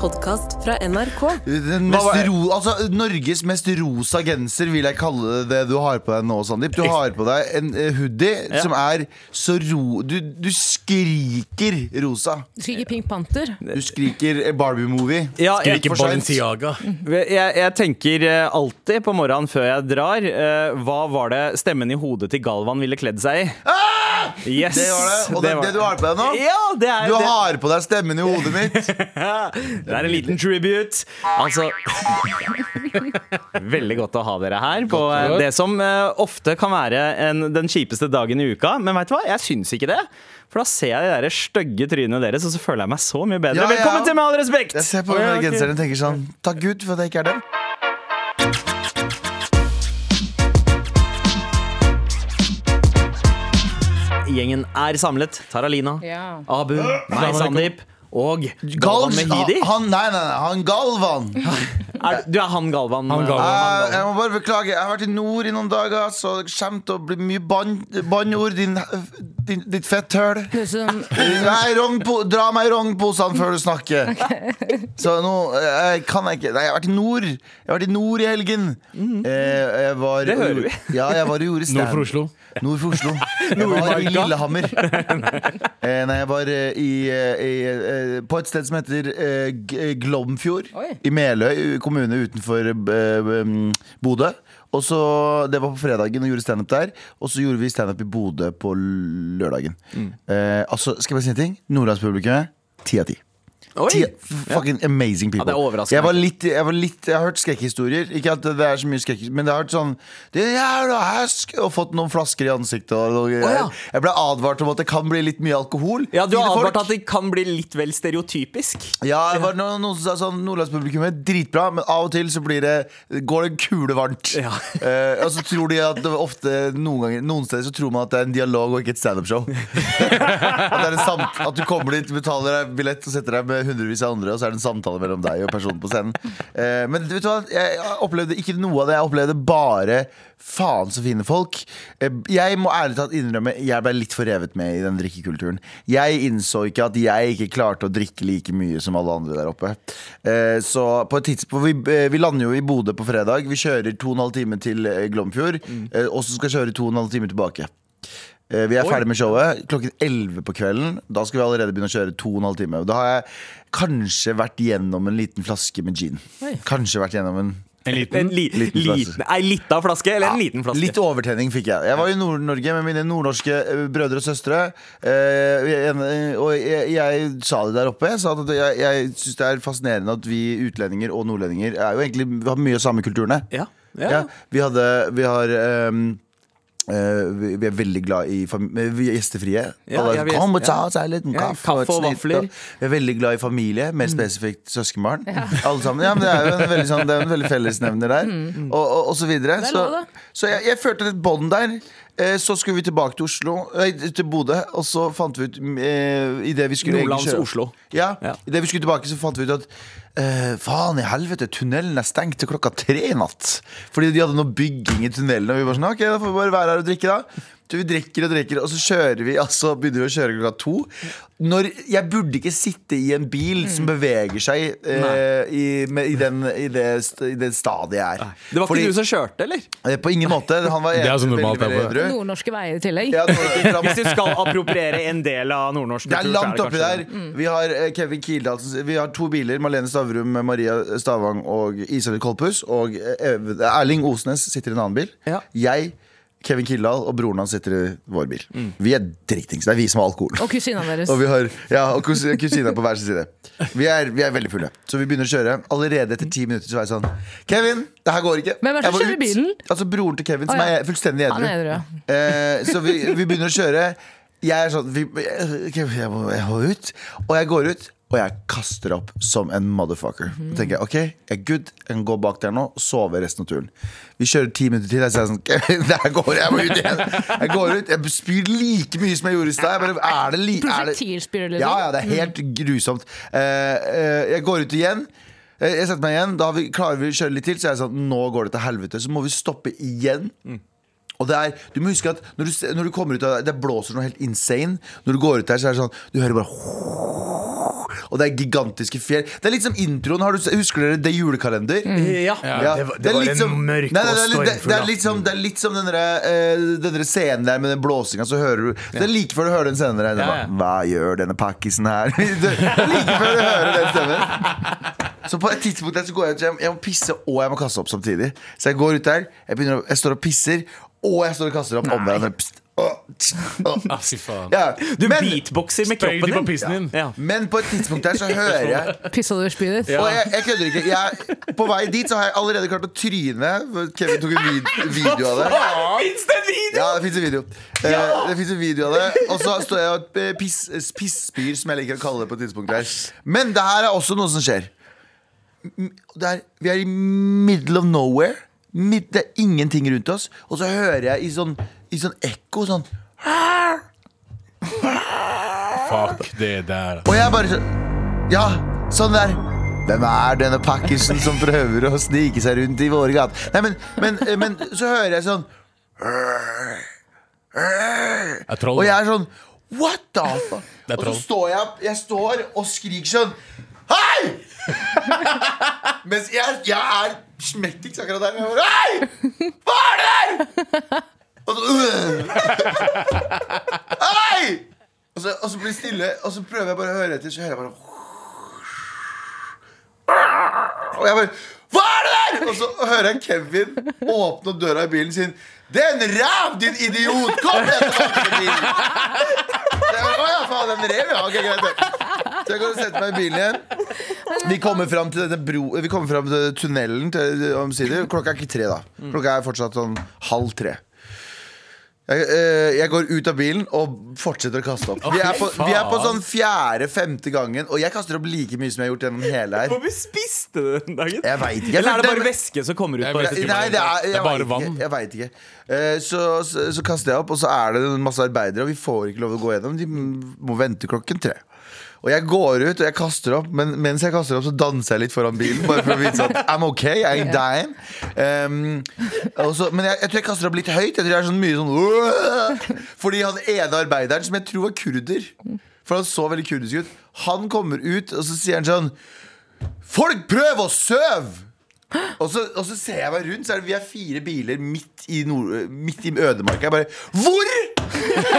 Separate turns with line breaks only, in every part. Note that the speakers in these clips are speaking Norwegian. podkast fra NRK.
Den
Hva var
mest
det?
ro, altså, Norges mest rosa genser vil jeg kalle det du har på deg nå, Sandeep. Du har på deg en eh, hoodie
Ja.
som er så ro... Du, du skriker rosa.
Trygge Pink Panther.
Du skriker eh, Barbie-movie.
Ja, jeg-
Skriker
for sent.
Balenciaga.
Mm. Jeg, jeg tenker eh, alltid på morgenen før jeg drar eh, Hva var det stemmen i hodet til Galvan ville kledd seg i?
Ah!
Yes,
Det var det. Og det, det,
var-
du har på deg nå?
Ja, det er,
Du
det-
har på deg stemmen i hodet mitt.
det er en liten tribute. Altså Veldig godt å ha dere her på eh,
Godt.
det som eh, ofte kan være en, den kjipeste dagen i uka. Men veit du hva, jeg syns ikke det. For da ser jeg de der stygge trynene deres, og så føler jeg meg så mye bedre.
Ja, ja.
Velkommen til Med all respekt!
Jeg ser på
Å, ja,
den
ok.
genseren og tenker sånn Takk Gud for at jeg ikke er dem.
Gjengen er samlet. Taralina,
Ja.
Abu, meg, Sandeep og
Gal-
Galvan Mehidi.
han, nei, nei, nei, han Galvan.
Er, du er han Galvan. eh,
Han Galvan.
Jeg, jeg må bare beklage. Jeg har vært i nord i noen dager, så det kommer til å bli mye bann- bannord. Din, din, ditt fetthøl.
Høres ut som
Nei, wrong po dra meg i rognposene før du snakker. Så nå eh, kan jeg ikke Nei, jeg har vært i nord. Jeg har vært i nord i helgen. Eh, jeg var,
Det hører vi.
Ja, jeg var og gjorde stand-
Nord for Oslo.
Nord for Oslo. Jeg var i Lillehammer. Eh, nei, jeg var eh, i, eh, i, eh, på et sted som heter eh, G- eh, Glomfjord.
Oi.
I Meløy kommune utenfor eh, um, Bodø. Og så, Det var på fredagen og gjorde standup der. Og så gjorde vi standup i Bodø på lørdagen. Eh, altså, skal jeg bare si en ting? Nordlandspublikummet, ti av ti.
Oi.
Ti- Fucking amazing people.
Ja, det er overraskende.
jeg, var litt, jeg, var litt, jeg har hørt skrekkhistorier. Ikke at det er så mye skrekk, men det har hørt sånn det er jævla hesk, Og fått noen flasker i ansiktet. Og, og,
ja.
Jeg ble advart om at det kan bli litt mye alkohol.
Ja, Du har
Fine folk.
advart at det kan bli litt vel stereotypisk.
Ja, det var noen, noen som sa sånn Nordlandspublikum er dritbra, men av og til så blir det, går det kule varmt.
Ja.
Eh, og så tror de at det ofte noen, ganger, noen steder så tror man at det er en dialog og ikke et standup-show. at, det er en samt, at du kommer dit, betaler deg billett og setter deg med hundrevis av andre, og så er det en samtale mellom deg og personen på scenen. Eh, men vet du hva, jeg opplevde ikke noe av det. Jeg opplevde bare faen så fine folk. Eh, jeg må ærlig talt innrømme, jeg ble litt forrevet med i den drikkekulturen. Jeg innså ikke at jeg ikke klarte å drikke like mye som alle andre der oppe. Eh, så på et tidspunkt vi, eh, vi lander jo i Bodø på fredag. Vi kjører 2,5 timer til eh, Glomfjord, eh, og så skal kjøre 2,5 timer tilbake. Eh, Vi er ferdig med showet klokken 11 på kvelden. Da skal vi allerede begynne å kjøre 2 12 timer. Da har jeg kanskje vært gjennom en liten flaske med gin. Kanskje vært gjennom en
En
En
liten.
li,
Liten flaske.
liten, ei lita flaske, eller en liten flaske?
Litt overtenning fikk jeg. Jeg var i Nord-Norge med mine nordnorske eh, brødre og søstre. eh, en- eh, Og jeg, jeg sa det der oppe. Jeg, sa at jeg, jeg syns det er fascinerende at vi utlendinger og nordlendinger er jo egentlig, vi har mye av samme kulturene.
Ja.
Ja.
Ja. Ja.
vi hadde Vi har ehm, eh, vi vi er veldig glad i fam- eh, Vi er gjestefrie.
Ja,
Alle er
ja, vi er
sånn, Kom og
gjest-
ta
ja.
oss en liten
Ja,
kaffe,
kaffe
et
og
snitt,
vafler. Mm.
Vi er veldig glad i familie, mer spesifikt søskenbarn. Alle sammen, ja, men Det er jo en veldig, sånn, det er en veldig fellesnevner der.
Mm.
Og, og, og så videre.
Det er
Så,
lov, da.
så jeg, jeg følte et bånd der. Eh, Så skulle vi tilbake til Oslo nei, til Bodø, og så fant vi ut eh, i det vi skulle egentlig
Nordlands
kjøre-
Oslo.
ja,
Ja.
Idet vi skulle tilbake, så fant vi ut at eh, faen i helvete, tunnelen er stengt til klokka tre i natt. Fordi de hadde noe bygging i tunnelen, og vi bare sånn OK, da får vi bare være her og drikke, da. Så vi drikker og drikker, og så kjører vi, altså begynner vi å kjøre klokka to. Når Jeg burde ikke sitte i en bil
Mm.
som beveger seg eh, i, med, i, den, i, det, st- i det stadiet jeg er.
Det var ikke
Fordi-
du som kjørte, eller?
eh, På ingen måte. Han var
Det er så normalt,
veldig,
jeg
veldig edru.
nordnorske veier i tillegg.
Ja, det var ikke
Hvis du skal appropriere en del av nordnorsk
Det er
kultur, så
langt oppi der.
kanskje det.
Vi har eh, Kevin Kildahl som- Vi har to biler. Malene Stavrum, Maria Stavang og Isabel Kolpus. Og eh, Ev- Erling Osnes sitter i en annen bil.
Ja.
Jeg, Kevin Kildahl og broren hans sitter i vår bil.
Mm.
Vi er dritings. Det er vi som har alkoholen.
Og kusina deres.
Og vi har ja, og kus- kusina på hver sin side. Vi er, vi er veldig fulle. Så vi begynner å kjøre. Allerede etter ti minutter så var jeg sånn Kevin, det her går ikke.
Hvem er det som
Jeg må
kjører
ut.
bilen?
Altså broren til Kevin, som
Å, ja.
er fullstendig edru.
Han er edru, ja.
Eh, så vi, vi begynner å kjøre. Jeg er sånn vi, jeg, jeg, må, jeg må ut. Og jeg går ut. Og jeg kaster opp som en motherfucker. Da
Mhm.
tenker jeg ok, jeg er good, jeg kan gå bak der nå og sove resten av turen. Vi kjører ti minutter til. Jeg sier sånn Kevin, der går jeg, jeg må ut igjen. Jeg går ut, jeg spyr like mye som jeg gjorde i stad. Jeg bare, Er det li- er det-
Prosjektilspyr, liksom.
Ja, ja, det er helt grusomt. Eh, eh, jeg går ut igjen. Eh, Jeg setter meg igjen. Da har vi, klarer vi å kjøre litt til, så er jeg sånn Nå går det til helvete. Så må vi stoppe igjen. Og det er, du må huske at når du, se- når du kommer ut av Det blåser noe helt insane. Når du går ut der, så er det sånn Du hører bare og det er gigantiske fjell. Det er litt som introen. Har du, s- husker dere det julekalender?
Ja.
Ja,
det var- det
er
var
litt
en
som-
mørk
Nei, nei,
og
det er litt- det-
stormfull
Det er litt som, det er litt som den derre, eh, den derre scenen der med den blåsinga, så hører du Det er like før du hører den scenen der. det er
Ja, ja.
bare, Hva gjør denne pakkisen her? Det er like før du hører den stemmen. Så på et tidspunkt der så går jeg ut, så jeg, jeg må pisse og jeg må kaste opp samtidig. Så jeg går ut der, jeg, begynner, å- jeg står og pisser, og jeg står og kaster opp om hverandre. Pst, å, tsk, å.
Ah, fy faen.
Ja.
Du
Men-
beatboxer med
Spray de på
kroppen din.
pissen din.
Ja.
men på et tidspunkt der så hører jeg
Pissa du over spydet ditt?
Og jeg, jeg kødder ikke. Jeg, på vei dit så har jeg allerede klart å tryne. for Kevin tok en vid video av det.
Fins det en video?!
Ja, det fins en video. Eh, det finnes en video av det Og så står jeg og eh, piss, pissspyr, som jeg liker å kalle det. på et tidspunkt der Men det her er også noe som skjer. M- Det er, vi er i middle of nowhere. Midt, det er ingenting rundt oss. Og så hører jeg i sånn, i sånn ekko sånn
Fuck det der.
Og jeg bare sånn Ja, sånn der hvem er denne pakkisen som prøver å snike seg rundt i våre gater? Nei, men, men, eh, men så hører jeg sånn
Jeg troll.
Og jeg er sånn What the fuck?
Det er
Og så
troll.
står jeg opp, jeg står og skriker sånn Hei! Mens jeg, jeg er smettings akkurat der. men Jeg bare, Hei! Hva er det der? Og så, øh. Hei! Og så, og så blir det stille, og så prøver jeg bare å høre etter, så hører jeg bare Og jeg bare Hva er det der?! Og så hører jeg Kevin åpne døra i bilen sin. Det er en ræv, din idiot! Kom igjen! kom til bilen!» Jeg bare, Å ja, faen, den rev, ja. Ok, greit. det.» Så jeg går og setter meg i bilen igjen. Vi kommer fram til denne bro, Vi kommer fram til tunnelen til, eh, omsider. Klokka er ikke tre, da. Klokka er fortsatt sånn halv tre. Jeg, eh, jeg går ut av bilen og fortsetter å kaste opp. Vi er på, vi er på sånn fjerde-femte gangen, og jeg kaster opp like mye som jeg har gjort gjennom hele her.
Hvorfor spiste du den dagen?
Jeg vet ikke.
Eller er det
Det-
bare væske som kommer ut?
Jeg
på
vet ikke.
ettertid?
Nei, det er,
Det er
jeg
bare
vet
vann.
Ikke, jeg vet ikke. Eh, Så, så, så kaster jeg opp, og så er det en masse arbeidere, og vi får ikke lov å gå gjennom. De må vente klokken tre. Og jeg går ut og jeg kaster opp, men mens jeg kaster opp, så danser jeg litt foran bilen. Bare for å vise at I'm ok, I ain't dying. Um, og så- men jeg, jeg tror jeg kaster opp litt høyt. Jeg tror jeg er sånn mye sånn «Åh!» Fordi han ene arbeideren, som jeg tror var kurder For han så veldig kurdisk ut. Han kommer ut, og så sier han sånn Folk, prøv å søv! Og så, og så ser jeg meg rundt, så er det vi er fire biler midt i, nord, midt i ødemarka. Jeg bare Hvor?!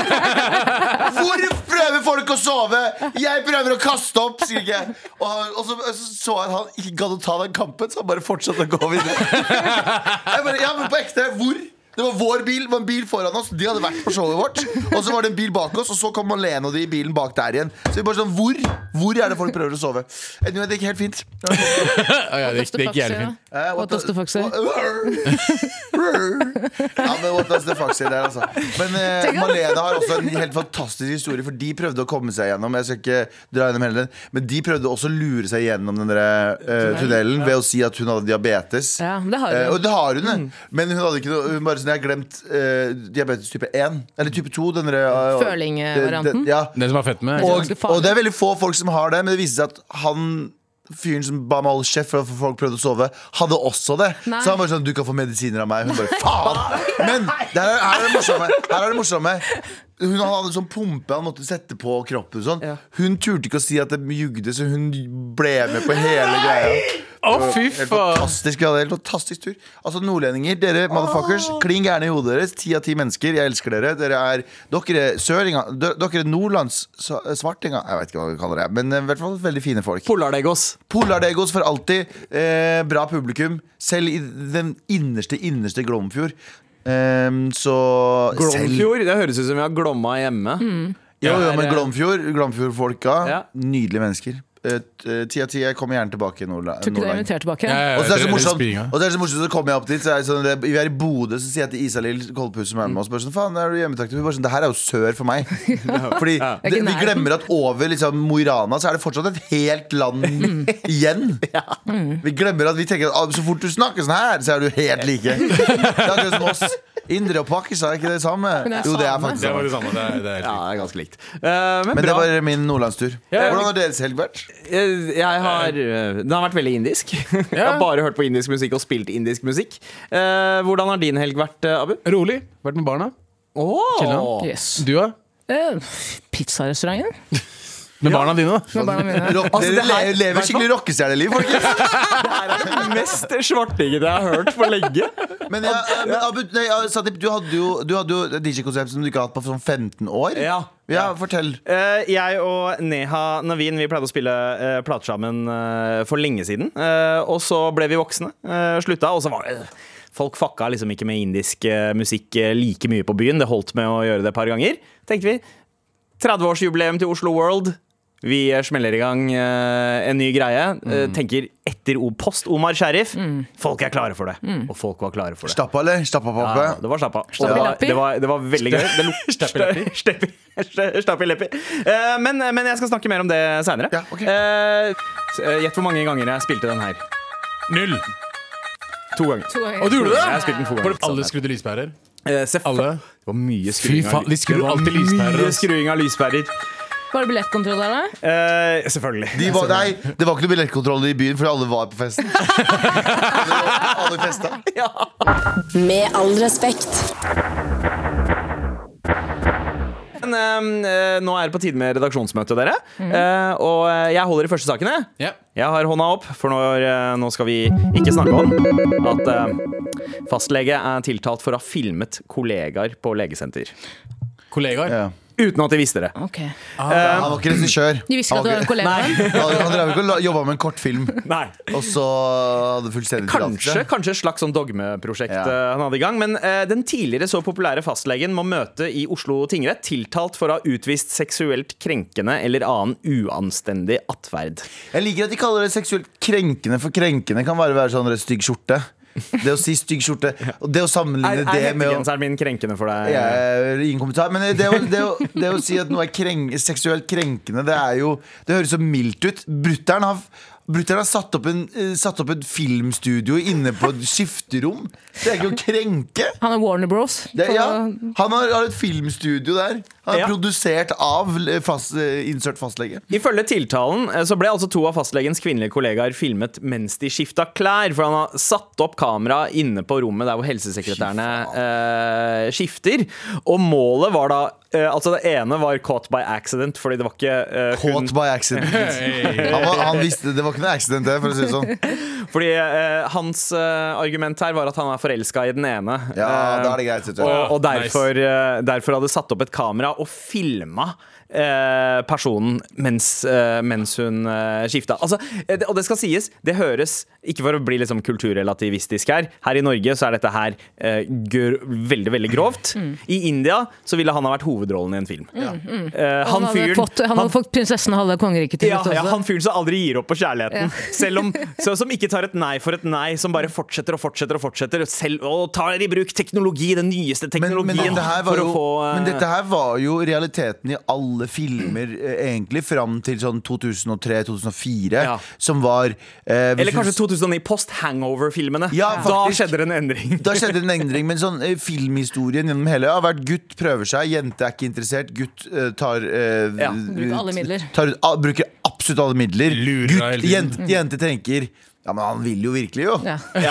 Hvor prøver folk å sove?! Jeg prøver å kaste opp, skriker jeg. Og, han, og så så så jeg at han ikke gadd å ta den kampen, så han bare fortsatte å gå videre. Jeg bare, ja, men på ekte, hvor? Det var vår bil, det var en bil foran oss, de hadde vært på showet vårt. Og så var det en bil bak oss, og så kom Malene og de i bilen bak der igjen. Så vi bare sånn, hvor? Hvor er det folk prøver å sove? Anyway, det gikk helt fint.
Ah, ja, det, gikk- det gikk jævlig fint.
Eh,
What does the fuck say?
Wha- ja, men what does the fuck say der, altså. Men eh, Malene har også en helt fantastisk historie, for de prøvde å komme seg gjennom. Jeg skal ikke dra gjennom hele den, men de prøvde også å lure seg gjennom den der, eh, tunnelen ved å si at hun hadde diabetes.
Ja, men det har hun. Mm.
Eh, og det har hun, det. men hun hadde ikke noe Hun bare sånn, jeg har glemt eh, diabetes type 1. Eller type 2. Den der, eh,
Følingvarianten.
den- den- Ja,
Den som har fett med
er
og,
ganske farlig.
og det er veldig få folk som har det, men det viser seg at han Fyren som ba meg holde kjeft for at folk prøvde å sove, hadde også det.
Nei.
Så han bare sånn Du kan få medisiner av meg. Hun bare faen! Men det her, er- her er det morsomme. Her er det morsomme. Hun hadde sånn pumpe han måtte sette på kroppen. og Sånn. Hun turte ikke å si at det jugde, så hun ble med på hele greia.
Å, fy
Helt
faen!
fantastisk, vi hadde helt fantastisk tur. Altså Nordlendinger, dere motherfuckers, klin gærne i hodet deres. Ti av ti mennesker, jeg elsker dere. Dere er dere er søringa, dere dere er nordlands sa- svartinga. Jeg vet ikke hva vi kaller det, men eh, i hvert fall veldig fine folk.
Polardegos.
Polardegos for alltid. Eh, bra publikum. Selv i den innerste, innerste Glomfjord. Eh, så selv-
Glomfjord. Det høres ut som vi har Glomma hjemme.
Mm.
Jo, jo,
er-
men Glomfjord, Glomfjordfolka.
Ja.
Nydelige mennesker. Eh, t- eh, Ti av ti. Jeg kommer gjerne tilbake. Nordla-
Tror ikke du er
Nordland.
invitert tilbake.
Ja, ja, ja,
Og så er det så
dere-
morsomt,
dere spyr,
og så, er det så morsomt, så kommer jeg opp dit så er det sånn, det, Vi er i Bodø, så sier jeg til Isalill Kolpus som er med oss bare sånn, Faen, er du hjemmetaktig? Hun bare sånn, det her er jo sør for meg Fordi
Det er
det,
ikke
vi
nærheten.
glemmer at over liksom, Moirana Så er det fortsatt et helt land
Mm.
igjen Vi glemmer at vi tenker at ah, Så fort du snakker sånn her, så er du helt like Det er akkurat som oss Indre og Pakistan er ikke det samme
det er
Jo, det er
samme.
ja.
faktisk
Det
samme
var det samme. Det er, det er helt
Ja, det er
riktig.
ganske likt. Eh, men,
men det
bra.
var min nordlandstur
Ja, ja.
Hvordan har deres helg vært?
Eh, Jeg har, eh, den har vært veldig indisk. Jeg har bare hørt på indisk musikk og spilt indisk musikk. Eh, hvordan har din helg vært, eh, Abu?
Rolig. Vært med barna.
Oh.
Chilla.
Yes.
Du, da?
Eh, Pizzarestauranten?
Med barna dine, da.
Med barna mine.
Rock,
Altså,
dere
det her-
le- lever skikkelig rockestjerneliv, folkens!
Det her er det mest svartingete jeg har hørt på lenge.
Men, jeg, men Abu, nei, jeg- Sandeep, du hadde jo, du hadde jo DJ-konsept som du ikke har hatt på sånn 15 år.
Ja.
ja fortell.
Eh, jeg og Neha Navin Vi pleide å spille uh, plater sammen eh, for lenge siden. Eh, og så ble vi voksne, eh, slutta, og så var det Folk fucka liksom ikke med indisk eh, musikk eh, like mye på byen. Det holdt med å gjøre det et par ganger. Tenkte vi 30-årsjubileum til Oslo World. Vi eh, smeller i gang eh, en ny greie. Eh, tenker etter o post Omar Sheriff. Folk er klare for det. Og folk var klare for det.
Stappa, eller? Stappa på
Ja, det var stappa. Og Det var,
Stappilappi.
det var, det var veldig gøy. Det luk-
Stappilappi.
Steppi- st- Stappilappi. Eh, Men, men jeg skal snakke mer om det seinere.
Ja, ok.
Gjett hvor mange ganger jeg spilte den her.
Null.
To ganger.
To ganger.
Og du gjorde det?
Jeg har spilt den to ganger.
Var det alle skrudde lyspærer?
Eh, selvfø-
Alle?
Det var mye
Fy
skruing av,
faen, de skrur alltid lyspærer,
mye
ass.
skruing av lyspærer.
Var det billettkontroll der, da?
Eh, selvfølgelig.
De var, nei, det var ikke noe billettkontroll i byen, for alle var på festen. alle, alle festa.
Med all respekt.
Men, eh, eh, nå er det på tide med redaksjonsmøte, dere.
Mm.
Eh, og eh, jeg holder i første saken, jeg.
Ja.
Jeg har hånda opp, for nå, eh, nå skal vi ikke snakke om at eh, fastlege er tiltalt for å ha filmet kollegaer på legesenter.
Kollegaer?
Ja.
Uten at de visste det.
Ok.
Han var ikke regissør.
De visste ikke at du var en kollega?
Nei.
men-
Han han drev ikke og la- jobba med en kortfilm,
Nei.
og så hadde fullstendig
Kanskje,
tillatelse.
kanskje et slags sånn dogmeprosjekt
Ja.
eh, han hadde i gang. Men eh, den tidligere så populære fastlegen må møte i Oslo tingrett tiltalt for å ha utvist seksuelt krenkende eller annen uanstendig atferd.
Jeg liker at de kaller det seksuelt krenkende, for krenkende kan bare være sånn stygg skjorte. Det å si stygg skjorte, og det å
Er,
sammenligne
er
det med å
hettegenseren min krenkende for deg?
Jeg- eh, Ingen kommentar. Men det å, det å, det å si at noe er krenk, seksuelt krenkende, det er jo Det høres så mildt ut. Brutter'n har Brutter'n har satt opp, en, eh, satt opp et filmstudio inne på et skifterom. Det er ikke å krenke.
Han er Warner Bros.
Det,
på-
ja. Han har, har et filmstudio der. Han er
Ja.
produsert av eh, fast, eh, insert fastlege.
Ifølge tiltalen eh, så ble altså to av fastlegens kvinnelige kollegaer filmet mens de skifta klær, for han har satt opp kamera inne på rommet der hvor helsesekretærene eh, skifter. Og målet var da eh, Altså, det ene var caught by accident, fordi det var ikke eh, hun
Caught by accident. Han, var, han visste Det var ikke noe accident, det, for å si det sånn.
Fordi eh, hans eh, argument her var at han er forelska i den ene.
Ja,
Eh,
da er det greit, vet du.
Og, og
Ja,
derfor, eh, derfor hadde satt opp et kamera og filma eh, personen mens, eh, mens hun eh, skifta. Altså, eh, det, og det skal sies, det høres Ikke for å bli liksom kulturrelativistisk her. Her i Norge så er dette her eh, gr veldig, veldig grovt.
Mm.
I India så ville han ha vært hovedrollen i en film. Eh,
Han,
han
hadde
fyren
fått, han hadde fått prinsessen og halve kongeriket til
ja,
slutt
ja,
også.
han fyren som aldri gir opp på kjærligheten. Selv om, så, som ikke tar et nei for et nei, som bare fortsetter og fortsetter og fortsetter selv, og tar i bruk teknologi, den nyeste
Men,
teknologien,
men, dette her var
for
jo,
å få eh,
men dette her var jo realiteten i alle filmer eh, egentlig fram til sånn 2003-2004,
Ja.
som var eh, hvis
Eller
du-
kanskje 2009, post Hangover-filmene.
Ja,
da
faktisk.
skjedde det en endring.
da skjedde en endring, men sånn eh, filmhistorien gjennom hele har vært gutt prøver seg, jente er ikke interessert, gutt eh, tar eh,
Ja,
bruker alle midler.
Tar, ut- a, bruker absolutt alle midler.
Lurer deg hele
gutt,
tiden.
jente, jente tenker Ja, men han vil jo virkelig, jo.
Ja.
Han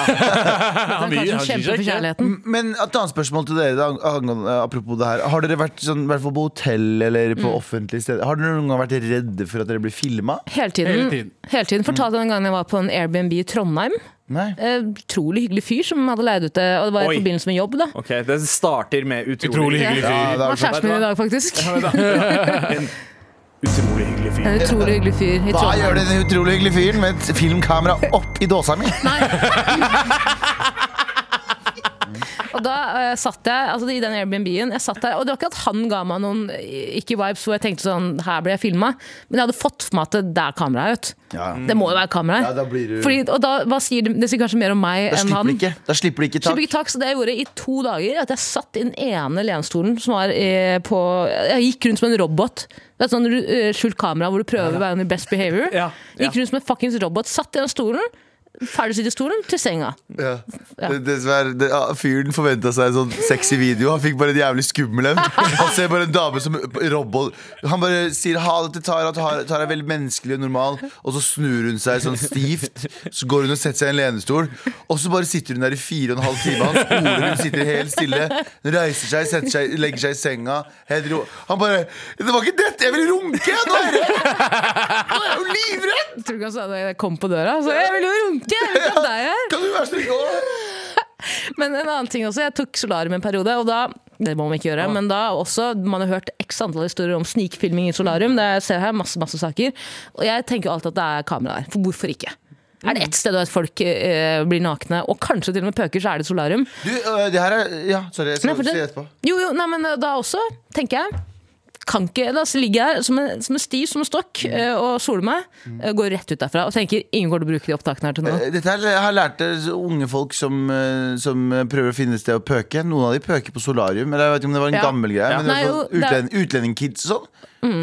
Han
vil-
kanskje
han vil
kjemper for
ikke. Mm.
kjærligheten.
Men et annet spørsmål til dere, da, angående- apropos det her. Har dere vært sånn, i hvert fall på hotell eller på offentlige steder Har dere noen gang vært redde for at dere blir filma?
Hele tiden.
Hele tiden. Mm.
Hele tiden. Fortalte den gangen jeg var på en Airbnb i Trondheim.
Nei.
Eh, Utrolig hyggelig fyr som hadde leid ut det, og det var i
Oi.
forbindelse med jobb. da
Ok, Det starter med
Utrolig
utrolig,
hyggelig
Ja,
fyr.
det
Han
er
var
sånn.
kjæresten min i dag, faktisk.
utrolig hyggelig fyr.
En utrolig hyggelig fyr i
Hva gjør
Trondheim.
den utrolig hyggelige fyren med et filmkamera opp i dåsa mi?
Og da eh, satt jeg altså i den Airbnb-en, jeg satt der, og det var ikke at han ga meg noen eh, ikke-vibes hvor jeg tenkte sånn Her ble jeg filma. Men jeg hadde fått for meg at det der er kameraet, vet du.
Ja.
Det må jo være kamera her.
Ja, da blir du-
Fordi, og da, hva sier det, det sier kanskje mer om meg
Da
enn
slipper
han.
de ikke, da slipper de ikke tak.
Slipper ikke tak, så det jeg gjorde i to dager, at jeg satt i den ene lenstolen som var eh, på Jeg gikk rundt som en robot. Det er et sånn eh, skjult kamera hvor du prøver å være on your best behavior.
Ja, ja.
Gikk rundt som en fuckings robot. Satt i den stolen. ferdigsydd-stolen til senga.
Ja. Det- Dessverre, det, ja, fyren forventa seg en sånn sexy video. Han fikk bare en jævlig skummel en. Han ser bare en dame som robot. Han bare sier ha det til Tara. Tara Tara er veldig menneskelig og normal. Og så snur hun seg sånn stivt. Så går hun og setter seg i en lenestol. Og så bare sitter hun der i fire og en halv time. Han spoler, hun sitter helt stille. Hun reiser seg, setter seg, legger seg i senga. Helt ro. Han bare Det var ikke dette! Jeg ville runke! jeg, Nå er jeg redd! Nå er jeg jo livredd!
Jeg tror ikke han sa det, jeg kom på døra. Så jeg vil jo runke! Jeg vil ikke ha deg her.
Kan du være snill? Åh.
Men en annen ting også, jeg tok solarium en periode, og da det må man ikke gjøre, men da også, man har hørt x antall historier om snikfilming i solarium. Det jeg ser her, masse, masse saker. Og jeg tenker jo alltid at det er kamera der, for hvorfor ikke? Er det ett sted at folk eh, blir nakne, og kanskje til og med pøker, så er det solarium?
Du, øh, det her er Ja, sorry. Jeg skal
Nei, for
si
det-
etterpå.
Jo, jo, nei, men eh, da også, tenker jeg. Kan ikke, da ligger jeg her som en, som en stiv som en stokk
Mm.
eh, og soler meg. eh, Går rett ut derfra og tenker ingen går til å bruke de opptakene her til nå.
Eh, Dette her, jeg har lært det så unge folk som, eh, som prøver å finne et sted å pøke. Noen av de pøker på solarium. Eller jeg vet ikke om det var en
Ja.
gammel greie.
Ja.
Men det
Nei,
er sånn
jo, det er- Mm.
utlend, Utlendingkids og sånn.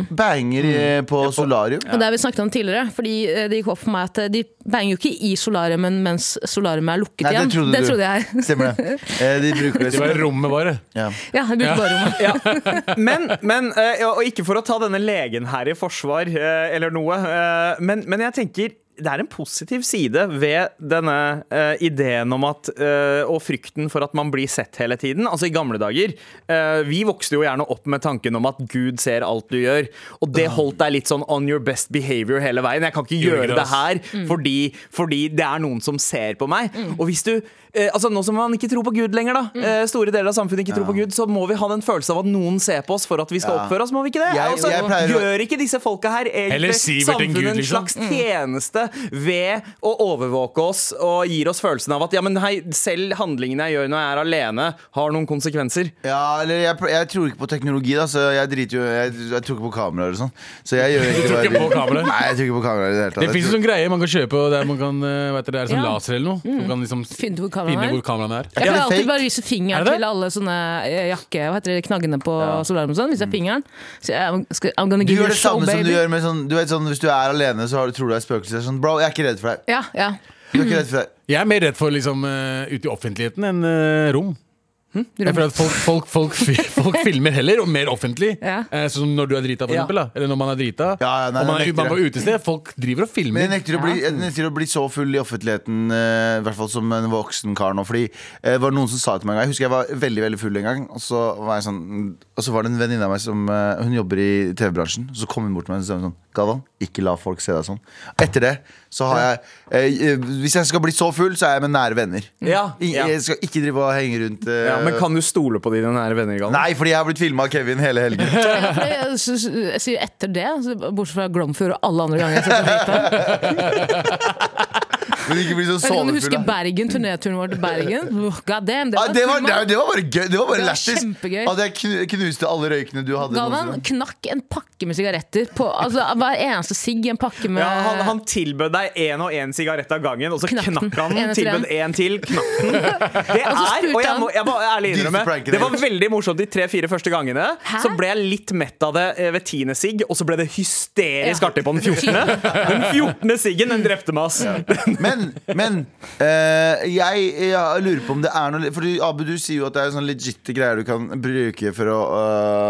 Banger eh, på solarium.
Og det har vi snakket om tidligere, fordi eh, det gikk opp for meg at eh, de banger jo ikke i solariumen mens solariumet er lukket
Nei, det
igjen.
trodde
det
du.
trodde jeg.
Stemmer det. Eh, De bruker det
Det var i
som
rommet bare.
ja.
Ja, jeg brukte bare rommet.
Men, men eh, ja, og ikke for å ta denne legen her i forsvar eh, eller noe, eh, men, men jeg tenker det er en positiv side ved denne eh, ideen om at eh, Og frykten for at man blir sett hele tiden. Altså, i gamle dager eh, Vi vokste jo gjerne opp med tanken om at Gud ser alt du gjør. Og det holdt deg litt sånn on your best behavior hele veien. Jeg kan ikke
Gjorde
gjøre
det,
det
ass.
her her fordi, fordi det er noen som ser på meg. Og hvis du eh, Altså Nå som man ikke tror på Gud lenger, da eh, store deler av samfunnet ikke tror på Gud, så må vi ha den følelsen av at noen ser på oss for at vi skal
Ja.
oppføre oss, må vi ikke det?
Jeg-
altså,
jeg pleier å-
gjør ikke disse folka her
Eller
egentlig
Sivert en
samfunnet
Gud,
en
liksom?
slags
Mm.
tjeneste ved å overvåke oss og gir oss følelsen av at ja, men hei, selv handlingene jeg gjør når jeg er alene, har noen konsekvenser?
ja, eller jeg, pr- jeg tror ikke på teknologi, da, så jeg driter jo Jeg, jeg tror ikke på kameraer og sånn. Så jeg gjør egentlig
tror
hva jeg
ikke på
vil.
kameraer?
Nei, jeg tror ikke på kameraer i det hele tatt.
Det fins en
Jeg tror-
sånn greie man kan kjøpe og der man kan, eh, vet dere, det er sånn
Ja.
laser eller noe. Du kan liksom
Finne ut hvor kameraet
finne
er.
hvor kameraet er.
Jeg
det
pleier alltid
fake?
bare å vise
Er
fingeren
det det?
til alle sånne eh, jakke... Hva heter det? Knaggene på solarium og sånn. Viser jeg fingeren. Så jeg, I'm skal- I'm gonna
Mm. du
give
gjør
you a
det
show,
samme som du
baby.
gjør med sånn, du vet, sånn Hvis du er alene, så har du, tror du er spøkelse. Sånn, bro, jeg er ikke redd for deg.
Ja, ja.
Du er ikke redd for deg.
Jeg er mer redd for liksom eh, ute i offentligheten enn eh, rom.
Hm?
Jeg føler at folk, folk, folk, fi- folk filmer heller, og mer offentlig.
Ja.
Eh, Sånn som når du er drita, for
Ja.
eksempel. Da. Eller når man er drita.
Ja, ja, nei,
og man
det
er
nekter
man er på utested. Folk driver og
Men
filmer.
jeg nekter, å bli, jeg nekter å bli så full i offentligheten, eh, i hvert fall som en voksen kar nå. Fordi eh, det var noen som sa til meg en gang Jeg husker jeg var veldig veldig full en gang. Og så var, jeg sånn, og så var det en venninne av meg som eh, Hun jobber i TV-bransjen. Så kom hun bort til meg og sa sånn Galvan, ikke la folk se deg sånn. Etter det så har jeg eh, eh, Hvis jeg skal bli så full, så er jeg med nære venner.
Ja,
I,
ja.
Jeg skal ikke drive og henge rundt eh,
Ja, men kan du stole på dine nære venner? Galvan?
Nei, fordi jeg har blitt filma av Kevin hele helgen.
Jeg, jeg, synes- jeg sier etter det, så bortsett fra Glomfjord og alle andre ganger jeg har sett deg.
Men ikke bli så
Jeg vet ikke om du husker
sovefull. da.
Bergen, turnéturen vår til Bergen. Oh, God damn, det
Ah, det, var,
var, full
det,
mann.
var- det var bare gøy. Det var bare
Det var
lættis.
kjempegøy.
At jeg knu- knuste alle røykene du hadde.
Galvan
noensinne.
knakk en pakke med sigaretter på altså, hver eneste sigg. En pakke med
Ja, han, han tilbød deg én og én sigarett av gangen, og så
Knakk den.
knakk han
En
den.
etter
Tilbød én til, knakk den. Det
Og så
er,
spurte
og jeg
han-
må, jeg må ærlig innrømme,
Dyreste pranken
det var
jeg har
veldig morsomt de tre-fire første gangene.
Hæ?
Så ble jeg litt mett av det eh, ved tiende sigg, og så ble det hysterisk
Ja.
artig på den 14. Den 14. siggen, den drepte meg, ass.
Men, men eh, jeg, jeg lurer på om det er noe Fordi Abu, du sier jo at det er sånne legitte greier du kan bruke for å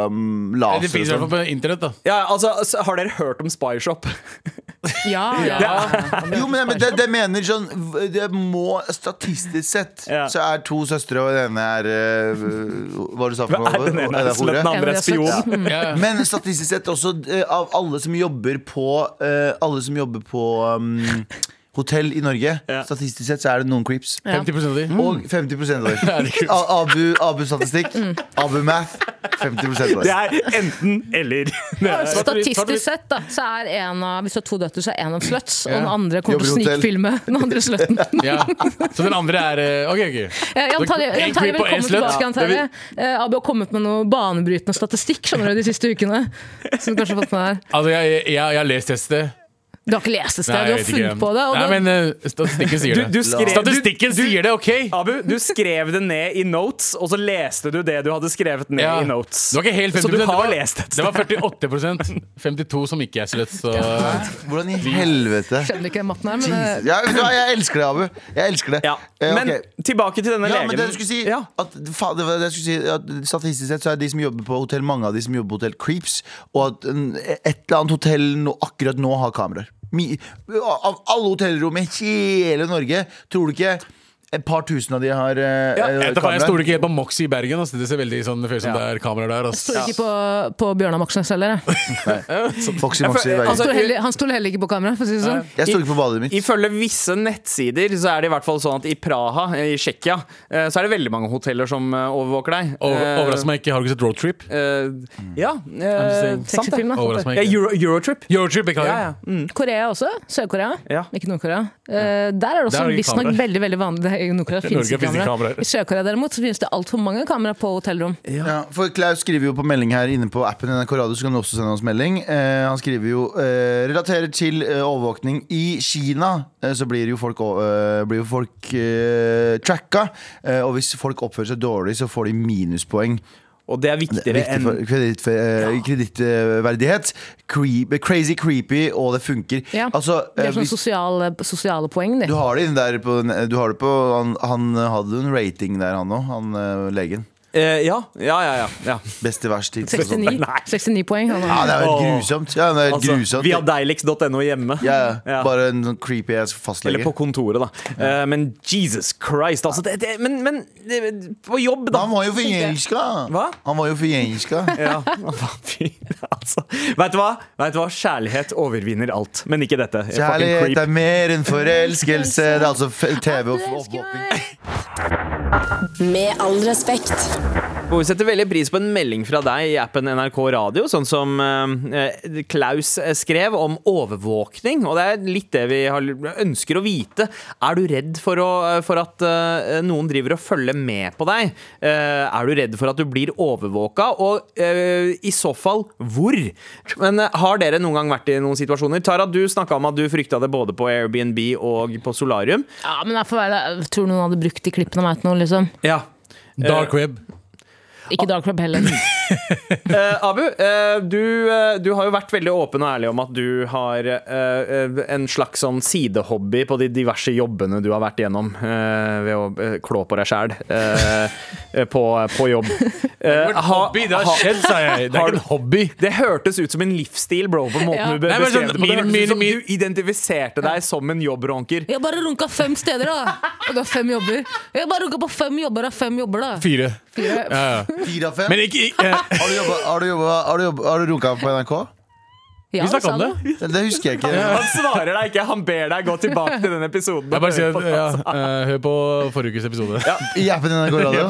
uh,
Det fins i
sånn.
hvert fall på internett, da.
Ja, altså, s- har dere hørt om Spyshop?
Ja, ja, ja.
Jo, men jeg- det, det mener sånn v- Det må statistisk sett
Ja.
Så er to søstre, og den ene er eh, Hva du sa for
Hva
noe?
er den ene er slett, den
En av de
andre
er
er spion?
slett.
Ja, ja.
Men statistisk sett også eh, av alle som jobber på eh, Alle som jobber på um, hotell i Norge,
Ja. Mm.
statistisk sett så er det noen creeps.
50 av de.
Og 50 av
Er det
dem.
creeps?
A- Abu- Abu-statistikk. Abu-math. 50 av
Det
dem.
er enten eller.
Statistisk sett da, så er en av Hvis du har to døtre, så er en av sluts, og den
Ja.
andre kommer til å
Jobber i hotell.
snikfilme den andre slutten.
Ja. Så den andre er eh, OK, OK.
Eh, Jan Terje,
En
Jan Terje
creep og en
velkommen
slutt.
tilbake. Jan
Ja, det vil-
Terje. Eh, Abu har kommet med noe banebrytende statistikk skjønner du, de siste ukene. Som du kanskje har fått med deg.
Altså, jeg, jeg, jeg har lest testet.
Du har ikke lest et sted,
Nei,
du
jeg
har
vet
funnet
ikke.
på det. Og
Nei,
det-
men eh, statistikken sier det.
Du- du skrev-
statistikken
du- du-
sier det, OK?
Abu, du skrev det ned i notes, og så leste du det du hadde skrevet ned
Ja.
i notes.
Det var ikke helt 50
så du
det
har
var,
lest et
Det var 48 52 som ikke er slett, så
Hvordan i helvete?
skjønner ikke den matten her, men
Jesus.
eh,
Ja, vet du hva, jeg elsker det, Abu. Jeg elsker det.
Ja.
Eh,
Men
ok.
tilbake til denne
Ja,
legen.
men det jeg skulle si,
Ja.
at, faen, det var det jeg skulle si at Statistisk sett så er de som jobber på hotell, mange av de som jobber på hotell, creeps. Og at en- et eller annet hotell nå, akkurat nå har kameraer. Mi- Av alle hotellrom i hele Norge, tror du ikke et par tusen av de har eh,
Ja,
eh,
Jeg vet da faen, jeg
kameraer?
stoler ikke helt på Moxie i Bergen. ass. Det ser veldig sånn, det føles som det er kameraer der. ass.
Står ikke på, på Bjørnar Moxnes heller. jeg.
Foxy Moxy i
Jeg føler-
Bergen.
altså-
Står heller- Han stoler heller ikke på kamera, for å si det sånn.
Jeg stoler ikke på badet mitt.
Ifølge visse nettsider så er det i hvert fall sånn at i Praha, i Tsjekkia, eh, så er det veldig mange hoteller som eh, overvåker deg.
Over, overrasker meg ikke. Har du ikke sett Roadtrip?
Eh, Ja,
Mm.
eh,
saying.
sant det.
Sexyfilm, da.
Overrasker meg
Ja,
ikke.
Euro, Eurotrip.
Eurotrip, beklager.
Ja, ja. Mm.
Korea også. Sør-Korea.
Ja.
Ikke Nord-Korea. Eh, der er det
Der
også
er det ikke
visstnok
kameraer.
veldig veldig vanlig. Det er- I Nord-Korea finnes
Norge
ikke
finnes ikke
kameraer.
kameraer.
I Sør-Korea derimot så finnes det altfor mange kameraer på hotellrom.
Ja, for Klaus skriver jo på melding her inne på appen NRK Radio, så kan du også sende oss melding. Eh, han skriver jo eh, relaterer til eh, overvåkning i Kina, eh, så blir jo folk, eh, blir jo folk eh, tracka. Eh, og hvis folk oppfører seg dårlig, så får de minuspoeng.
Og det er
Det er
viktigere
viktig
enn
for kreditt- eh, kredittverdighet. Creep, crazy creepy, og det funker.
Ja.
Altså,
Det
eh,
er sånn sånne
hvis,
sosiale, sosiale poeng, det.
du har det inn der på, du har det på han, han hadde en rating der, han òg, han eh, legen.
Eh, Ja, ja, ja. ja, ja.
Best til verst. tid.
sånn-
69,
Nei.
69 poeng. Han
Ja,
har.
det er jo helt
Åh.
grusomt. Ja, det er helt
Altså,
grusomt.
vi har deiligst.no hjemme.
ja, ja.
Ja.
Bare en sånn creepy ass fastlege.
Eller på kontoret, da. Eh, men Jesus Christ, altså. Det, det, men, men det, på jobb, da.
han var jo forjelska!
Hva?
Han var jo forjelska.
Ja, hva fy- altså. Vet du hva? Vet du hva? Kjærlighet overvinner alt, men ikke dette. Fucking
Kjærlighet
creep.
er mer enn forelskelse. Det er altså f- TV og oppvåkning.
Med all respekt.
Og Vi setter veldig pris på en melding fra deg i appen NRK Radio, sånn som eh, Klaus skrev om overvåkning. Og det er litt det vi har, ønsker å vite. Er du redd for, å, for at eh, noen driver og følger med på deg? Eh, er du redd for at du blir overvåka? Og eh, i så fall, hvor? Men eh, har dere noen gang vært i noen situasjoner? Tara, du snakka om at du frykta det både på Airbnb og på solarium.
Ja, men jeg, får være, jeg tror noen hadde brukt de klippene av meg til noe. Liksom.
Ja.
Eh,
Dark web.
Ikke Dark Club heller.
Eh, Abu, eh, du, eh, du har jo vært veldig åpen og ærlig om at du har eh, eh, en slags sånn sidehobby på de diverse jobbene du har vært igjennom eh, ved å eh, klå på deg sjæl på, på jobb. Eh,
En
ha-
hobby, det har
ha-
skjedd, sa jeg. Det
Har
er
du-
ikke en hobby.
det hørtes ut som en livsstil, bro, på måten
Ja.
du be-
Nei, men
beskrev
sånn,
det på. Det
min-
hørtes ut som
min-
du identifiserte deg som en jobbrunker.
Jeg har bare runka fem steder, da! Og du har fem jobber. Jeg har bare runka på fem jobber av fem jobber, da.
Fire.
Fire.
Ja, ja.
Fire av fem.
Men ikke eh,
Har du jobba Har du, jobbet, har du, jobbet, har du runka på NRK?
Ja,
Vi snakka
sa
om det.
du.
Det, det husker jeg ikke.
Han svarer deg ikke, han ber deg gå tilbake til den episoden. og
Jeg bare
høre
sier
på
at
den.
ja, eh, Hør på forrige ukes episode.
I appen NRK Radio.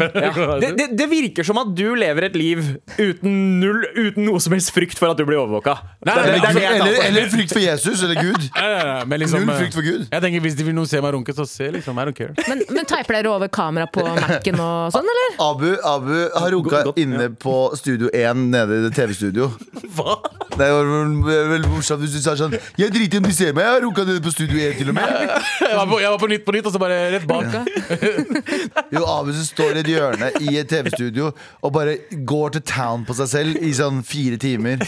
Det, det, det virker som at du lever et liv uten, null, uten noe som helst frykt for at du blir overvåka.
Nei,
Det er-
altså,
det er det jeg tar
Altså, Eller,
på.
eller frykt for Jesus eller Gud.
Nei, nei, nei, men liksom,
Null frykt for Gud.
Jeg tenker Hvis de vil noen se meg runke, så se, liksom. I don't care.
Men, men teiper dere over kamera på Mac-en og sånn, eller?
Abu, Abu har runka
Godt, godt,
inne på Studio 1 nede i det TV-studio.
Hva?
Det var vel- vel morsomt hvis du sa sånn Jeg driter i om de ser meg, jeg har runka nede på Studio 1 til og med.
Jeg var, på, jeg var på Nytt på Nytt, og så bare rett bak.
Jo, Amundsen står i et hjørne i et TV-studio og bare går til town på seg selv i sånn fire timer.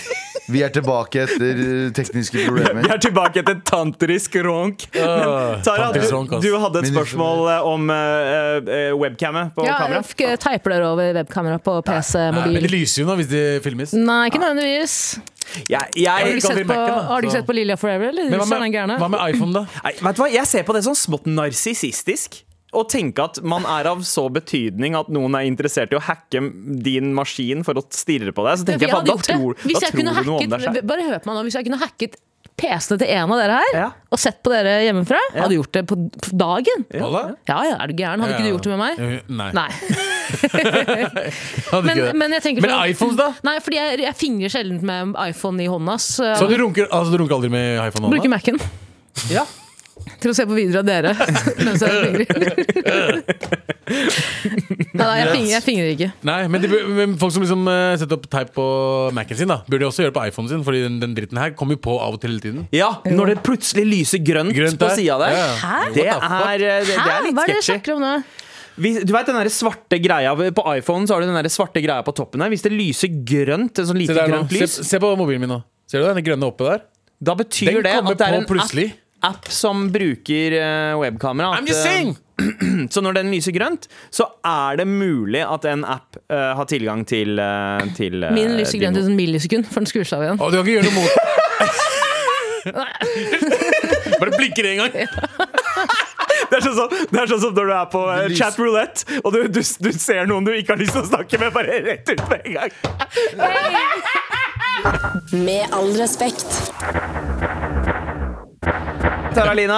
Vi er tilbake etter eh, tekniske
Vi
problemer.
er tilbake til tantrisk ronk.
Øh,
Tara, du,
tantrisk ronk, ass.
du hadde et
Min-
spørsmål eh, om eh, eh, webcammet på
Ja,
kamera.
f- teiper dere over webkamera på PC,
Nei, men det
mobil?
lyser jo nå hvis de filmes.
Nei, ikke nødvendigvis.
Jeg,
Har du
jeg,
ikke sett på,
Mac-en, da,
har du ikke
så-
sett på Lilja Forever, eller?
Men hva
Sånn er den
med,
gærne.
hva med iPhone, da?
nei, vet du hva? jeg ser på det som smått narsissistisk. Å tenke at man er av så betydning at noen er interessert i å hacke din maskin for å stirre på deg. Så
Men
tenker jeg,
jeg
faen,
hadde
da
gjort det.
tror,
Hvis
da
jeg kunne
tror du noe om deg
hacket-
selv.
Bare hør på meg nå. Hvis jeg kunne hacket PC-ene til en av dere her,
Ja.
og sett på dere hjemmefra,
Ja.
hadde gjort det på på dagen.
Halla?
Ja, ja, er du gæren? Hadde ikke du gjort det med meg?
Eh, Nei.
Nei.
Hadde
Men,
ikke det.
men jeg tenker sånn-
Men iPhones, da?
Nei, fordi jeg, jeg fingrer sjelden med iPhone i hånda. Så
Så du
jeg
runker, altså, du runker aldri med iPhone?
bruker
Anna?
Mac-en
Ja.
til å se på videoer av dere. mens jeg fingrer. Nei, nei, jeg, fingrer, jeg fingrer ikke.
Nei, men, de, bør- men folk som liksom eh, setter opp teip på Mac-en sin, da burde de også gjøre det på iPhonen sin, Fordi den, den dritten her kommer jo på av og til hele tiden.
Ja, når det plutselig lyser grønt,
Grønt
på
der.
sida der.
Ja, ja.
Hæ?
Det
What the fuck?
er, eh, det, det
Hæ?
er litt
Hva er det dere
sketchy.
snakker om nå?
Hvis, du vet den der svarte greia På iPhone så har du den der svarte greia på toppen her. Hvis det lyser grønt, en sånn
Se,
lite
der nå.
grønt
Se,
lys,
se på mobilen min nå. Ser du det? Den grønne oppe der?
da betyr
Den
det
kommer
at det er
på
en
plutselig.
app, app som bruker eh, webkamera. At,
I'm just
eh,
saying!
Så når den lyser grønt, så er det mulig at en app eh, har tilgang til, eh, til eh,
Min lyser grønt
din-
ut en millisekund, for den skrur seg av igjen.
Å, du kan ikke gjøre noe mot Bare blinker en gang.
Det er sånn som det er sånn som når du er på eh,
Lys.
chat roulette og du, du, du ser noen du ikke har lyst til å snakke med, bare rett ut med en gang.
Med all respekt.
Tara Lina,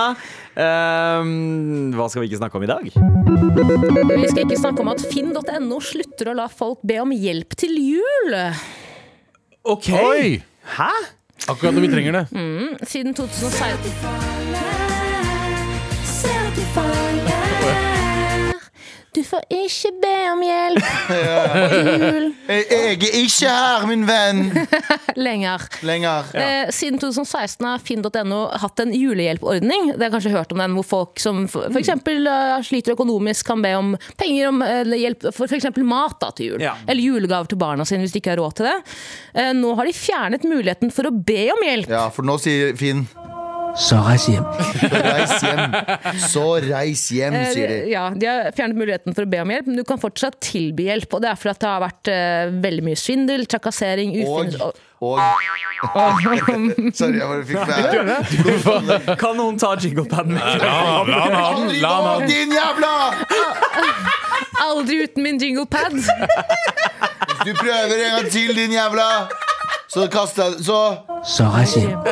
ehm, hva skal vi ikke snakke om i dag?
Vi skal ikke snakke om at finn.no slutter å la folk be om hjelp til jul.
Ok
Oi!
Hæ?
Akkurat når vi trenger det.
Siden 2016 Du får ikke be om hjelp til jul
Jeg, jeg er ikke her, min venn!
lenger.
Lenger.
Eh, siden 2016 har finn.no hatt en julehjelpordning. Det har kanskje hørt om den, Hvor folk som
Mm.
f.eks. eh, sliter økonomisk, kan be om penger om, eller hjelp for f.eks. mat da, til jul.
Ja.
Eller julegaver til barna sine hvis de ikke har råd til det. Eh, nå har de fjernet muligheten for å be om hjelp.
Ja, for nå sier Finn
Så reis hjem.
Så reis hjem. Så reis hjem,
Eh,
sier de.
Ja, De har fjernet muligheten for å be om hjelp, men du kan fortsatt tilby hjelp. Og Det er fordi at det har vært eh, veldig mye svindel, trakassering
Og,
ufinnes- og-
og Sorry, jeg bare fikk meg
Kan noen ta jinglepaden vekk?
La han la han ha den.
Aldri
La han
gå,
ha den.
din jævla!
Aldri uten min jinglepad!
Hvis du prøver en gang til, din jævla, så kaster jeg Så
Så reis hjem.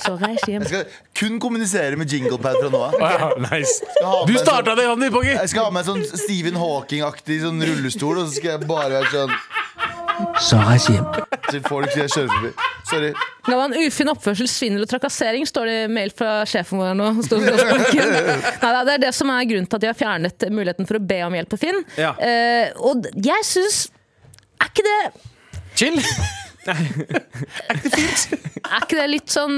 Så reis hjem.
Jeg skal kun kommunisere med jinglepad fra nå av.
Å, ja, nice.
Jeg skal ha med en
Du
sånn-
starta det, Johnny Poggi.
Jeg skal ha med en sånn Stephen Hawking-aktig sånn rullestol, og så skal jeg bare være sånn
Så reis hjem.
til folk skal jeg kjøre forbi. Sorry.
Det var en ufin oppførsel, svindel og trakassering, står det i mail fra sjefen vår nå. Står det på Gråsbanken. Nei, da, det er det som er grunnen til at de har fjernet muligheten for å be om hjelp på Finn.
Ja.
Eh, og d- jeg syns er ikke, det,
Chill.
er ikke det litt sånn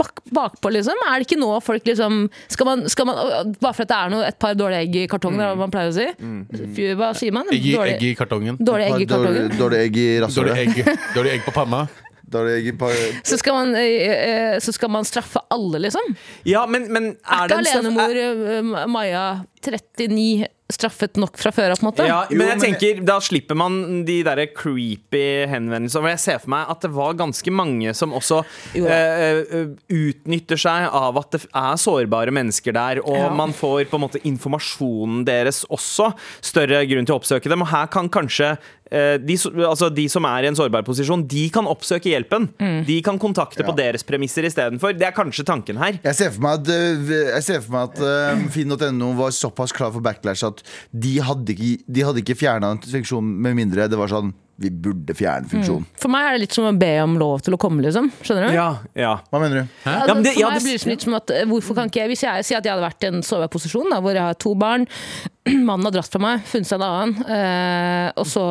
bak, bakpå, liksom? Er det ikke nå folk liksom skal man, skal man, og- Bare for at det er noe, et par dårlige egg i kartongen, er det hva man pleier å si? Fy, Hva sier man?
Mm. Egg i,
Dårlig-
egg i kartongen.
Dårlige egg i kartongen.
Dårlig dårlig egg i
Dårlig
rasshølet.
egg, dårlig egg på panna.
Dårlig egg i par-
Så skal, man, eh, eh, så skal man straffe alle, liksom?
Ja, men, men er
Er
det
ikke
en straff-
alenemor eh, Maja 39 straffet nok fra før av, på en måte?
Ja,
Jo,
men jeg
men-
tenker, Da slipper man de der creepy henvendelsene. For jeg ser for meg at det var ganske mange som også
Jo da.
eh, eh, utnytter seg av at det er sårbare mennesker der. Og
Ja.
man får på en måte informasjonen deres også. Større grunn til å oppsøke dem. Og her kan kanskje eh, de, so- altså de som er i en sårbar posisjon, de kan oppsøke hjelpen. De kan kontakte på deres premisser istedenfor. Det er kanskje tanken her.
Jeg ser for meg at, øh, jeg ser for meg at øh, Finn.no var såpass klar for backlash at de hadde ikke, de hadde ikke fjerna en funksjon med mindre det var sånn Vi burde fjerne funksjonen.
For meg er det litt som å be om lov til å komme, liksom. Skjønner du?
Ja, ja.
Hva mener du?
Altså,
Ja, men det-
for
ja,
meg
det-
blir det som litt som at eh, hvorfor kan ikke jeg, Hvis jeg sier at jeg hadde vært i en sårbar posisjon, da, hvor jeg har to barn, mannen har dratt fra meg, funnet seg en annen, eh, og så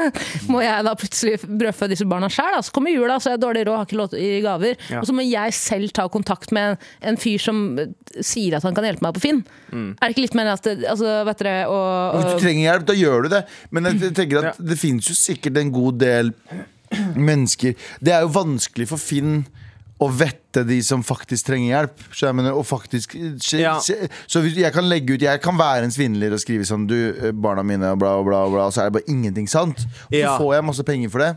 må jeg da plutselig brødfø disse barna sjøl, så kommer jula, så er jeg dårlig råd, har ikke lov til å gi gaver,
Ja.
og så må jeg selv ta kontakt med en, en fyr som eh, sier at han kan hjelpe meg på Finn.
Mm.
Er det ikke litt mer at det, altså, vet dere, og,
Hvis du trenger hjelp, da gjør du det. Men jeg jeg tenker at det finnes jo sikkert en god del mennesker Det er jo vanskelig for Finn å vette de som faktisk trenger hjelp. Så jeg mener, og faktisk skje-
Ja.
skje- Så hvis jeg kan legge ut Jeg kan være en svindler og skrive sånn Du, eh, barna mine, og bla, og bla, og bla, og så er det bare ingenting sant. Og så
Ja. Hmm.
får jeg masse penger for det.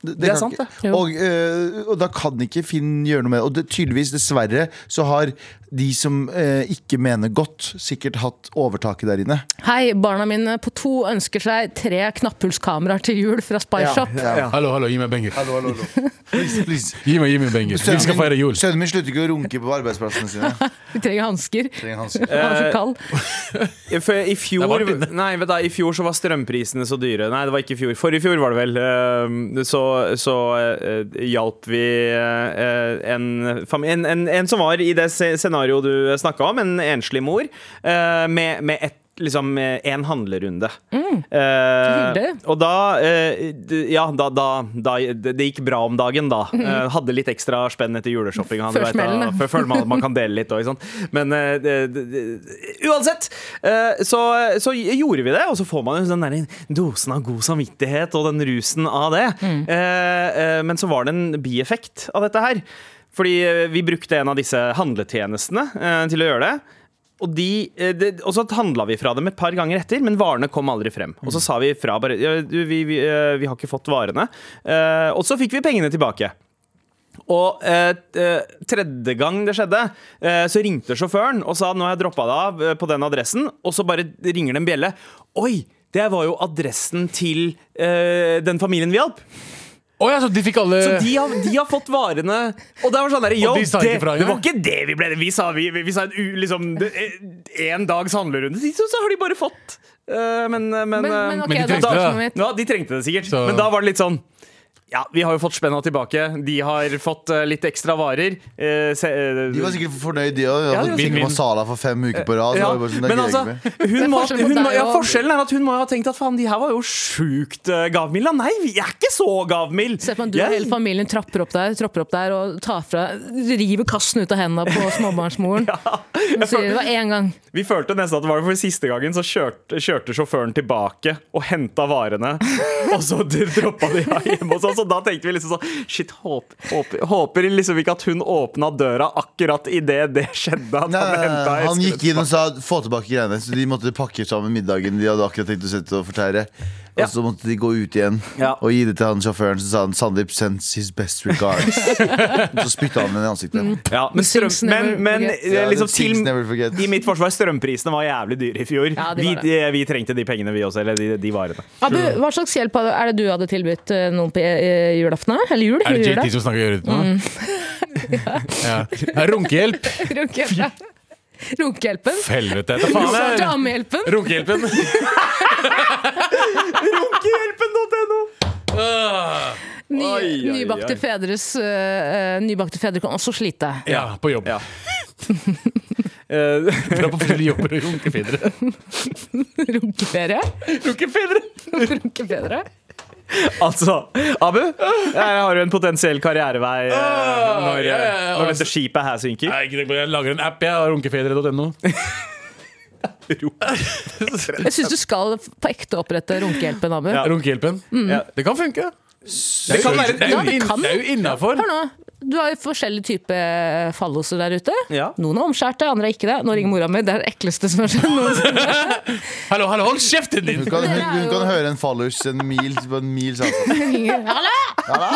Det,
Det er
kan
sant,
ikke-
det. Jo.
Og, eh, og da kan ikke Finn gjøre noe med det. Og det, tydeligvis, dessverre, så har de som eh, ikke mener godt, sikkert hatt overtaket der inne.
Hei, barna mine på to ønsker seg tre knapphullskameraer til jul fra Spice Shop.
Hallo, hallo, gi meg penger.
Hallo, hallo, hallo. Please, please.
Gi meg, gi meg penger. Vi skal feire jul.
sønnen min slutter ikke å runke på arbeidsplassene sine.
De trenger hansker.
Trenger hans.
Eh,
Han er så kald.
For I fjor,
Det er varmt
nei, vet du, I fjor så var strømprisene så dyre. Nei, det var ikke i fjor. Forrige fjor var det vel. eh, Så, så eh, hjalp vi eh, en, fam- en, en, en som var i det se- scenarioet du snakka om, en enslig mor, eh, med, med ett liksom én handlerunde.
så
Eh,
hyggelig.
og da eh, d- Ja, da, da, da det, det gikk bra om dagen, da. Eh, hadde litt ekstra spenn etter juleshopping.
Før
vet da.
smellen, da.
Før føler man at man kan dele litt og ikke sant? Men eh, det- det- det- uansett! eh, så, så gjorde vi det, og så får man jo den der dosen av god samvittighet og den rusen av det.
Mm.
Eh, eh, men så var det en bieffekt av dette her. Fordi eh, vi brukte en av disse handletjenestene eh, til å gjøre det. Og, de, eh, det, og så handla vi fra dem et par ganger etter, men varene kom aldri frem. Og
Mm.
så sa vi fra bare ja, du, vi, vi, eh, vi har ikke fått varene. Eh, og så fikk vi pengene tilbake. Og eh, t- eh, tredje gang det skjedde, eh, så ringte sjåføren og sa nå har jeg droppa det av eh, på den adressen, og så bare ringer det en bjelle. Oi! Det var jo adressen til eh, den familien vi hjalp.
Å ja, så de fikk alle
Så de har, de har fått varene Og det var sånn der, yo,
de sa
det,
ikke fra
det var
engang?
ikke det vi ble Vi sa, vi, vi, vi sa en, u- liksom, det- en dags handlerunde. Så, så har de bare fått. Eh, men, men,
Men,
eh,
men ok,
Men de
da
trengte det,
tar vi
da.
noe mitt.
ja, de trengte det sikkert.
Så-
Men da var det litt sånn ja, Vi har jo fått spenna tilbake. De har fått eh, litt ekstra varer. Eh, se, eh,
De var sikkert fornøyd, de òg.
Ja, de var
Fikk
sikkert-
Masala for fem uker på rad. så
ja,
var det bare sånn, det
men
gidder jeg
altså,
ikke mer.
er
hun må,
forskjell på
hun må,
deg
ja,
og-
forskjellen er at hun må ha tenkt at faen, de her var jo sjukt eh, gavmilde. Nei, vi er ikke så gavmilde!
Se på at du og
Jeg-
hele familien trapper opp der, tropper opp der og tar fra, river kassen ut av hendene på småbarnsmoren. Hun sier det var én gang.
Vi følte nesten at det var det, for siste gangen så kjørte, kjørte sjåføren tilbake og henta varene. Og så droppa de av hjemme hos oss, og da tenkte vi liksom sånn Shit, håp, håper, håper liksom ikke at hun åpna døra akkurat idet det skjedde. At
Nei,
han, hentet
han
esken
gikk inn og sa 'få tilbake greiene', så de måtte pakke sammen middagen de hadde akkurat tenkt å sette og fortære. Og
Ja.
så måtte de gå ut igjen
Ja.
og gi det til han sjåføren, som sa han 'Sandeep sends his best regards'. Og så spytta han den i ansiktet.
Ja, men, strøm,
Things never
men, men
forget.
eh,
Ja,
Mm. liksom
the things
til-
never forget.
i mitt forsvar, strømprisene var jævlig dyre i fjor.
Ja, de
vi,
var det.
eh, vi trengte de pengene, vi også. Eller de, de varene.
Abu, hva slags hjelp hadde- er det du hadde tilbudt eh, noen på eh, julaften? da? Eller jul?
Er det
jula?
JT som snakker i øret ditt nå? ja. Ja. Runkehjelp!
Runkehjelpen. Runkehjelpen.
Helvete. Ta faen
Svarte
jeg.
ammehjelpen.
Runkehjelpen.
Runkehjelpen.no!
Ah.
Ny,
Oi, oi, oi.
nybakte, fedres, eh, eh, nybakte fedre kan også slite.
Ja, på jobb.
Ja. Eh,
Dra på forskjellige jobber og runke videre.
Runkeferie.
Runkefedre!
Runkefedre.
Altså, Abu, her har du en potensiell karrierevei eh, når, eh,
Ah, ja, altså. ja, ja.
når dette skipet her synker.
Nei, ikke tenk på det. Jeg lager en app, jeg. Runkefedre.no.
Jeg syns du skal på ekte opprette Runkehjelpen, Abu.
Ja.
Runkehjelpen.
Ja.
Det kan funke.
Det kan være
Mm. Det er
Ja,
jo
det
inn-
kan.
det er jo innafor.
Hør nå. Du har jo forskjellige typer falloser der ute.
Ja.
Noen er omskjærte, andre er ikke det. Nå ringer mora mi. Det er det ekleste som har skjedd noensinne.
Hallo, hallo, hold kjeften din!
Hun kan, hun,
Dere er
hun
jo-
kan høre en fallus en mil på en mils avstand.
Hun ringer. Hallo!
Ja,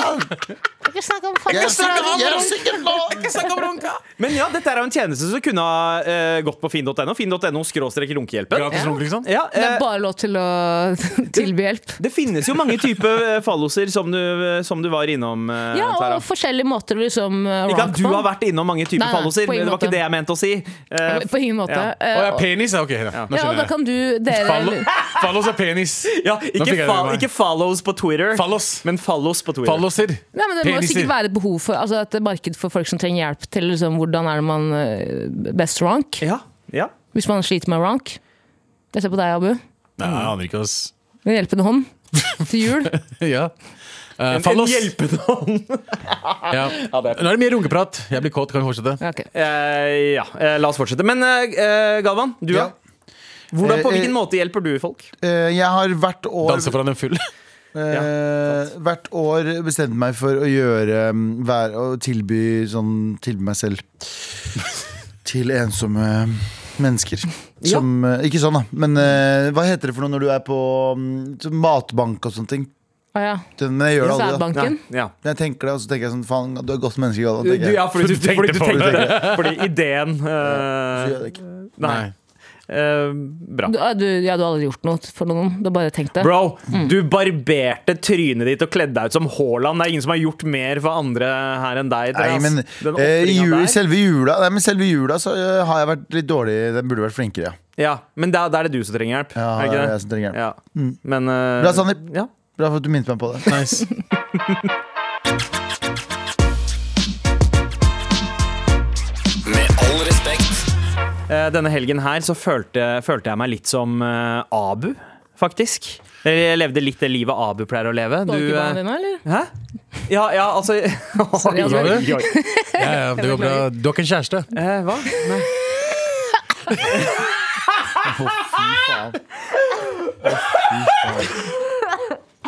Ikke snakk om
jeg er
falloser.
sikker- jeg er sikker på
Men ja, dette er jo en tjeneste som kunne ha eh, gått på finn.no. Finn.no skråstrek runkehjelpen.
Gratis runk, liksom.
Ja,
Det er
eh,
bare lov til å tilby hjelp.
det finnes jo mange typer eh, falloser som du, som du var innom. eh,
Ja,
Tara.
og forskjellige måter å liksom eh,
Ikke at
rank
du
på.
har vært innom mange typer
Nei, nei,
falloser.
på
Det
ingen
var
måte.
ikke det jeg mente å si. Eh,
På ingen måte.
Ja.
Eh,
Å, ja, penis? Ja, ok. Ja. Nå
ja, og da
skjønner jeg.
kan du, dere
Fallo- Fallos er penis.
ja,
Nå fikk
ikke,
jeg det
fall,
med meg.
ikke follows på Twitter,
Fallos.
men follows på Twitter.
Falloser.
Nei, men Det må jo
Peniser.
sikkert være et behov for Altså et marked for folk som trenger hjelp til liksom, hvordan er det man eh, best rank.
Ja, ja.
Hvis man sliter med rank. Jeg ser på deg, Abu.
Nei, jeg aner ikke, ass.
En hjelpende hånd til jul.
Ja. Eh,
En, en
fallos.
hjelpende hånd.
Ja. Nå er det mye runkeprat. Jeg blir kåt, kan vi fortsette?
Ja, ok.
Eh, ja, eh, la oss fortsette. Men eh, eh, Galvan, du
Ja.
da? Hvordan, på
Eh, eh,
hvilken måte hjelper du folk?
Eh, Jeg har hvert år
Danse foran en full.
Eh, hvert år bestemte meg for å gjøre mm, hver, Å tilby, sånn, tilby meg selv til ensomme mennesker.
Ja.
Som, eh, Ikke sånn, da, men eh, hva heter det for noe når du er på mm, sånn matbank og sånne ting?
Å ja.
Den, men jeg gjør det aldri. da.
Sædbanken.
Ja.
Når Jeg tenker det, og så tenker jeg sånn Faen, du er et godt menneske. Galvan,
Du,
tenker jeg.
ja, fordi, du,
tenkte
fordi, du
på det.
tenkte, fordi ideen
Så
eh,
gjør jeg det ikke.
Nei. eh, bra.
Du, ja, du, ja, du har aldri gjort noe for noen. Du har bare tenkt det.
Bro,
Mm.
du barberte trynet ditt og kledde deg ut som Haaland. Det er ingen som har gjort mer for andre her enn deg.
Nei, men
Den
eh, i
ofringen
jul,
der.
selve jula Nei, men selve jula så eh, har jeg vært litt dårlig. Den burde vært flinkere, ja.
Ja, men da, da er det du som trenger hjelp.
Ja,
er det
det er
ikke det?
jeg som trenger hjelp. Mm.
Ja. Men, eh,
Bra, Sandeep.
Ja.
Bra for at du minnet meg på det.
Nice.
Med all respekt.
Eh, eh, denne helgen her så følte, følte jeg meg litt som eh, Abu, faktisk. Jeg levde litt det livet Abu pleier å leve. Du,
Dolkebanen
eh,
din, eller?
hæ? Ja, ja, altså
Sorry, altså.
Oi, oi, oi. Ja, ja, det går bra. Du har ikke kjæreste?
Eh, Hva? Nei.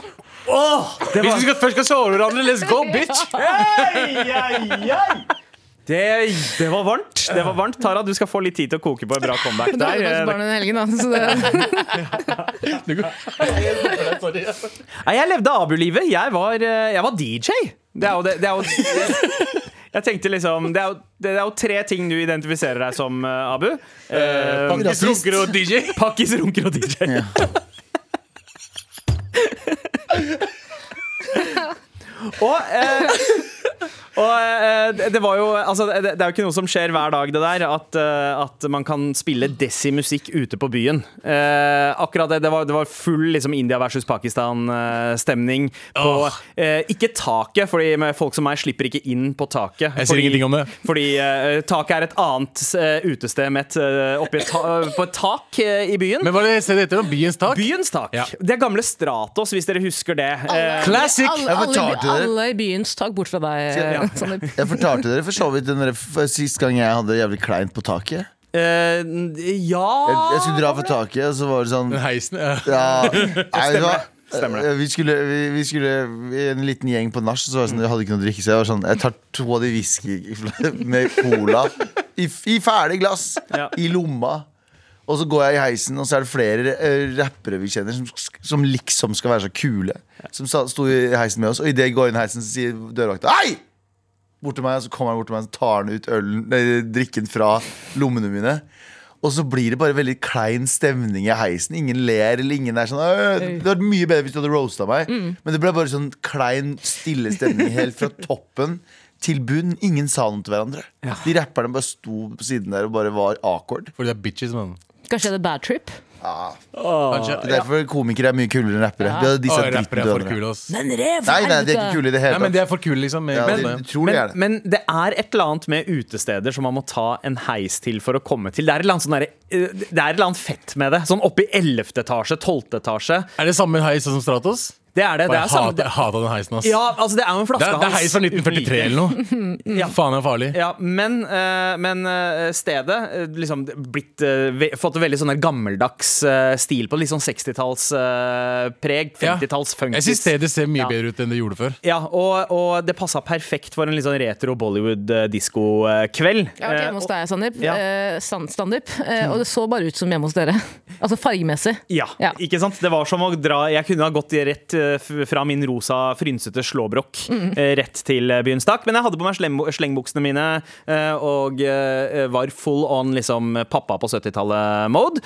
Hvis vi skal, først skal såre hverandre, let's go, bitch!
Det, det var varmt. det var varmt Tara, du skal få litt tid til eh, å koke på en bra comeback.
Du hadde faktisk
Der.
barn den helgen, da. Så det,
Nei, jeg levde Abu-livet. Jeg, var, eh, jeg var DJ. Det er jo det, det er jo, jeg tenkte liksom det er, jo, det er jo tre ting du identifiserer deg som, eh, Abu. Eh,
Pakkis, runker og DJ.
Pakkis, runker og DJ. Og, eh, og eh, det- det var jo altså, det, det er jo ikke noe som skjer hver dag, det der. At, eh, at man kan spille desimusikk ute på byen. Eh, akkurat det, det var, det var full liksom, India versus Pakistan-stemning. på eh, Ikke taket, fordi med folk som meg slipper ikke inn på taket.
Jeg sier
fordi-
ingenting om det.
Fordi eh, taket er et annet eh, utested med et, eh, oppi et ta på et tak eh, i byen.
Men hva er det stedet heter? da? Byens tak?
Byens tak.
Ja.
Det er gamle Stratos, hvis dere husker det. Eh,
Classic!
alle,
Jeg
alle,
fortalte dere.
alle i byens tak, bort fra deg,
Ja.
Sandeep.
Jeg fortalte dere for så vidt den der f- sist gang jeg hadde det jævlig kleint på taket.
eh, ja
Jeg, jeg skulle dra fra taket, og så var det sånn
Den heisen. ja.
Ja, nei, vet du hva?
Stemmer det.
Vi skulle, vi, vi skulle vi- en liten gjeng på nach, så var det sånn, jeg hadde ikke noe å drikke. Så jeg var sånn, jeg tar to av de whisky med cola i, i ferdig glass
Ja.
i lomma. Og så går jeg i heisen, og så er det flere eh, rappere vi kjenner som, som liksom skal være så kule. Som sa- sto i heisen med oss, og idet jeg går inn i heisen, så sier dørvakta Hei! Bort til meg, og så kommer han bort til meg og så tar han ut ølen, nei, drikken fra lommene mine. Og så blir det bare veldig klein stemning i heisen. Ingen ler, eller ingen er sånn «Øh, Det hadde vært mye bedre hvis du hadde roasta meg. Men det ble bare sånn klein, stille stemning helt fra toppen til bunn. Ingen sa noe til hverandre. De rapperne bare sto på siden der og bare var awkward.
Fordi det er bitches, mann.
eh, Kanskje det er bad trip?
Kanskje.
Det er derfor komikere er mye kulere enn rappere. De hadde
Å,
disse dritten
rappere
til
er for
hverandre.
kule, ass.
Den rev!
Nei, nei, de er ikke kule i det
Nei,
hele
men de
tatt.
er for kule, liksom.
Ja,
Men,
de, de tror de
men,
er det.
men det er et eller annet med utesteder som man må ta en heis til for å komme til. Det er et eller annet, sånn derre- eh, det er et eller annet fett med det. Sånn oppe i 11. etasje, 12. etasje.
Er det samme heis som Stratos?
Det er det.
Og
det
jeg
er samme,
hater- jeg hater den heisen, ass.
ja, altså det er jo en
Det er,
flaskehals.
det er heis fra
uten like.
1943 eller noe.
Ja.
Faen, det er farlig.
Ja, men, eh, men eh, stedet eh, liksom blitt, eh, ve fått veldig sånn der gammeldags eh, stil på det. Litt sånn 60-talls eh, preg.
Ja.
50-talls funkis.
Jeg syns stedet ser mye
Ja.
bedre ut enn det gjorde før.
Ja, og, og det passa perfekt for en litt sånn retro eh, Bollywood-disko-kveld.
Jeg har vært hjemme hos deg, Sandeep.
ja.
Eh, San- Sandeep.
Mm.
Eh, og det så bare ut som hjemme hos dere. Altså fargemessig.
Ja,
Ja.
ikke sant? Det var som å dra Jeg kunne ha gått rett eh, f- fra min rosa, frynsete slåbrok eh, rett til eh, byens tak. Men jeg hadde på meg slem- slengbuksene mine eh, og eh, var full on liksom pappa på 70-tallet-mode.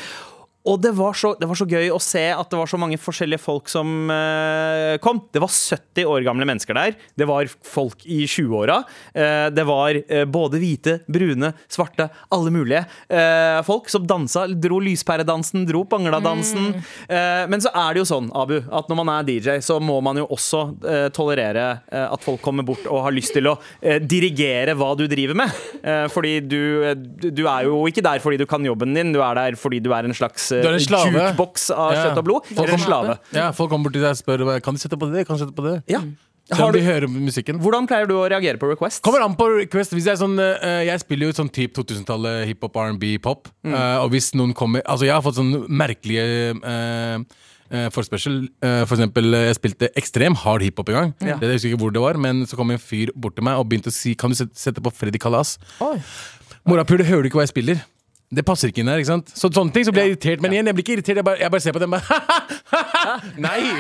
Og det var, så, det var så gøy å se at det var så mange forskjellige folk som eh, kom. Det var 70 år gamle mennesker der. Det var folk i 20-åra. Eh, det var eh, både hvite, brune, svarte, alle mulige eh, folk som dansa. Dro lyspæredansen, dro bangladansen. Eh, men så er det jo sånn, Abu, at når man er DJ, så må man jo også eh, tolerere eh, at folk kommer bort og har lyst til å eh, dirigere hva du driver med. Eh, fordi du, eh, du du er jo ikke der fordi du kan jobben din, du er der fordi du er en slags eh,
Du er en slave.
jukeboks av
Ja.
kjøtt og blod.
Folk
Eller en
kommer-
slave.
Ja, Folk kommer bort til deg og spør hva- Kan de sette på det, kan de sette på det.
Ja.
Selv
Har
om de
du,
hører musikken.
hvordan pleier du å reagere på requests?
Kommer an på request. Hvis det er sånn, eh, jeg spiller jo sånn typ 2000-tallet hiphop, R&B, pop.
Mm.
Eh, og hvis noen kommer Altså, jeg har fått sånn merkelige eh, eh, forespørsel. Eh, for eksempel, eh, jeg spilte ekstrem hard hiphop en gang.
Ja.
Det, jeg husker ikke hvor det var, men så kom en fyr bort til meg og begynte å si Kan du sette, sette på Freddy Kalas? Morapuler, hører du ikke hva jeg spiller? Det passer ikke inn her. ikke sant? Så sånne ting så blir jeg irritert. Men igjen, jeg blir ikke irritert, jeg bare, jeg bare ser på dem bare Nei!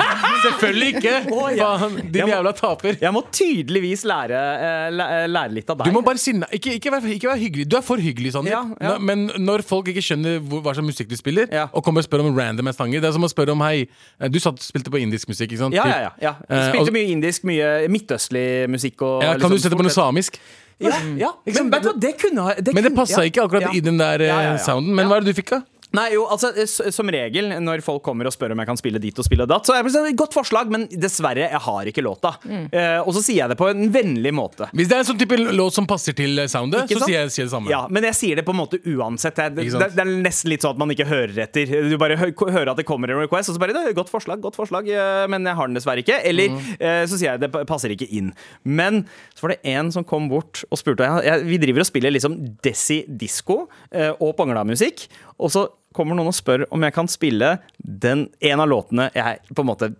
Selvfølgelig ikke!
Å, ja.
Faen, din
Jeg må-
jævla taper.
Jeg må tydeligvis lære, eh, læ- eh, lære litt av deg.
Du må bare sinne ikke, ikke, vær, ikke vær hyggelig. Du er for hyggelig, Sandeep.
Ja, ja.
Nå- Men når folk ikke skjønner hvor, hva slags musikk du spiller,
Ja.
og kommer og spør om random sanger Det er som å spørre om Hei, du satt, spilte på indisk musikk, ikke sant?
ja,
Typ.
ja, ja, ja.
Eh,
Spilte
og-
mye indisk, mye midtøstlig musikk. Og,
Ja, kan
liksom
du sette på noe
stort sett-
samisk?
Ja, ja. Men, vet du hva, det kunne ha
Men det passa ikke akkurat i den der eh,
Ja, ja, ja.
sounden. Men hva er det du fikk, da?
Nei, jo, altså s- Som regel når folk kommer og spør om jeg kan spille dit og spille datt, så er det sånn, godt forslag, men dessverre, jeg har ikke låta.
Mm.
Eh, og så sier jeg det på en vennlig måte.
Hvis det er en sånn type låt som passer til eh, soundet,
Ikke
så
sant?
sier jeg, sier jeg det samme.
Ja, Men jeg sier det på en måte uansett. Det, det,
Ikke sant?
det er nesten litt sånn at man ikke hører etter. Du bare hø hører at det kommer en request, og så bare «Det er et 'Godt forslag, godt forslag', eh, men jeg har den dessverre ikke. Eller
Mm.
eh, så sier jeg det p- passer ikke inn. Men så var det en som kom bort og spurte. og Jeg, jeg, vi driver og spiller liksom Desi Disco eh, og Pangla-musikk, og så kommer noen og spør om jeg kan spille den, en av låtene jeg på en måte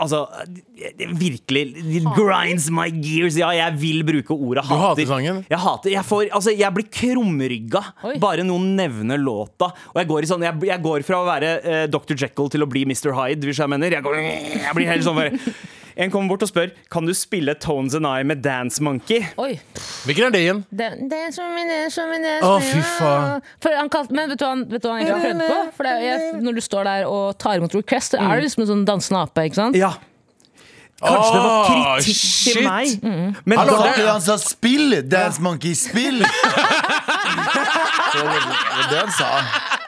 Altså, det- det virkelig It grinds my gears. Ja, jeg vil bruke ordet hater.
hater sangen?
Jeg hater Jeg, får, altså, jeg blir krumrygga
Oi.
bare noen nevner låta. Og jeg går, i sånn, jeg, jeg går fra å være eh, Dr. Jekyll til å bli Mr. Hyde, hvis jeg mener. Jeg, går, jeg blir helt sånn bare En kommer bort og spør Kan du spille Tones and I med Dance Monkey.
Oi.
Hvilken er det igjen?
Det, det er som en- det er som en-
Å, fy faen.
For han kalte- Men vet du hva han, vet du hva han egentlig har prøvd på? For det er, jeg, når du står der og tar imot request, så er du liksom en sånn dansende ape. ikke sant?
Ja. Kanskje det var
Åh,
kritikk
shit.
til meg. Men
Hallo,
da-
sa ikke han sa 'spill'? Dance Monkey, spill! Det var det han sa.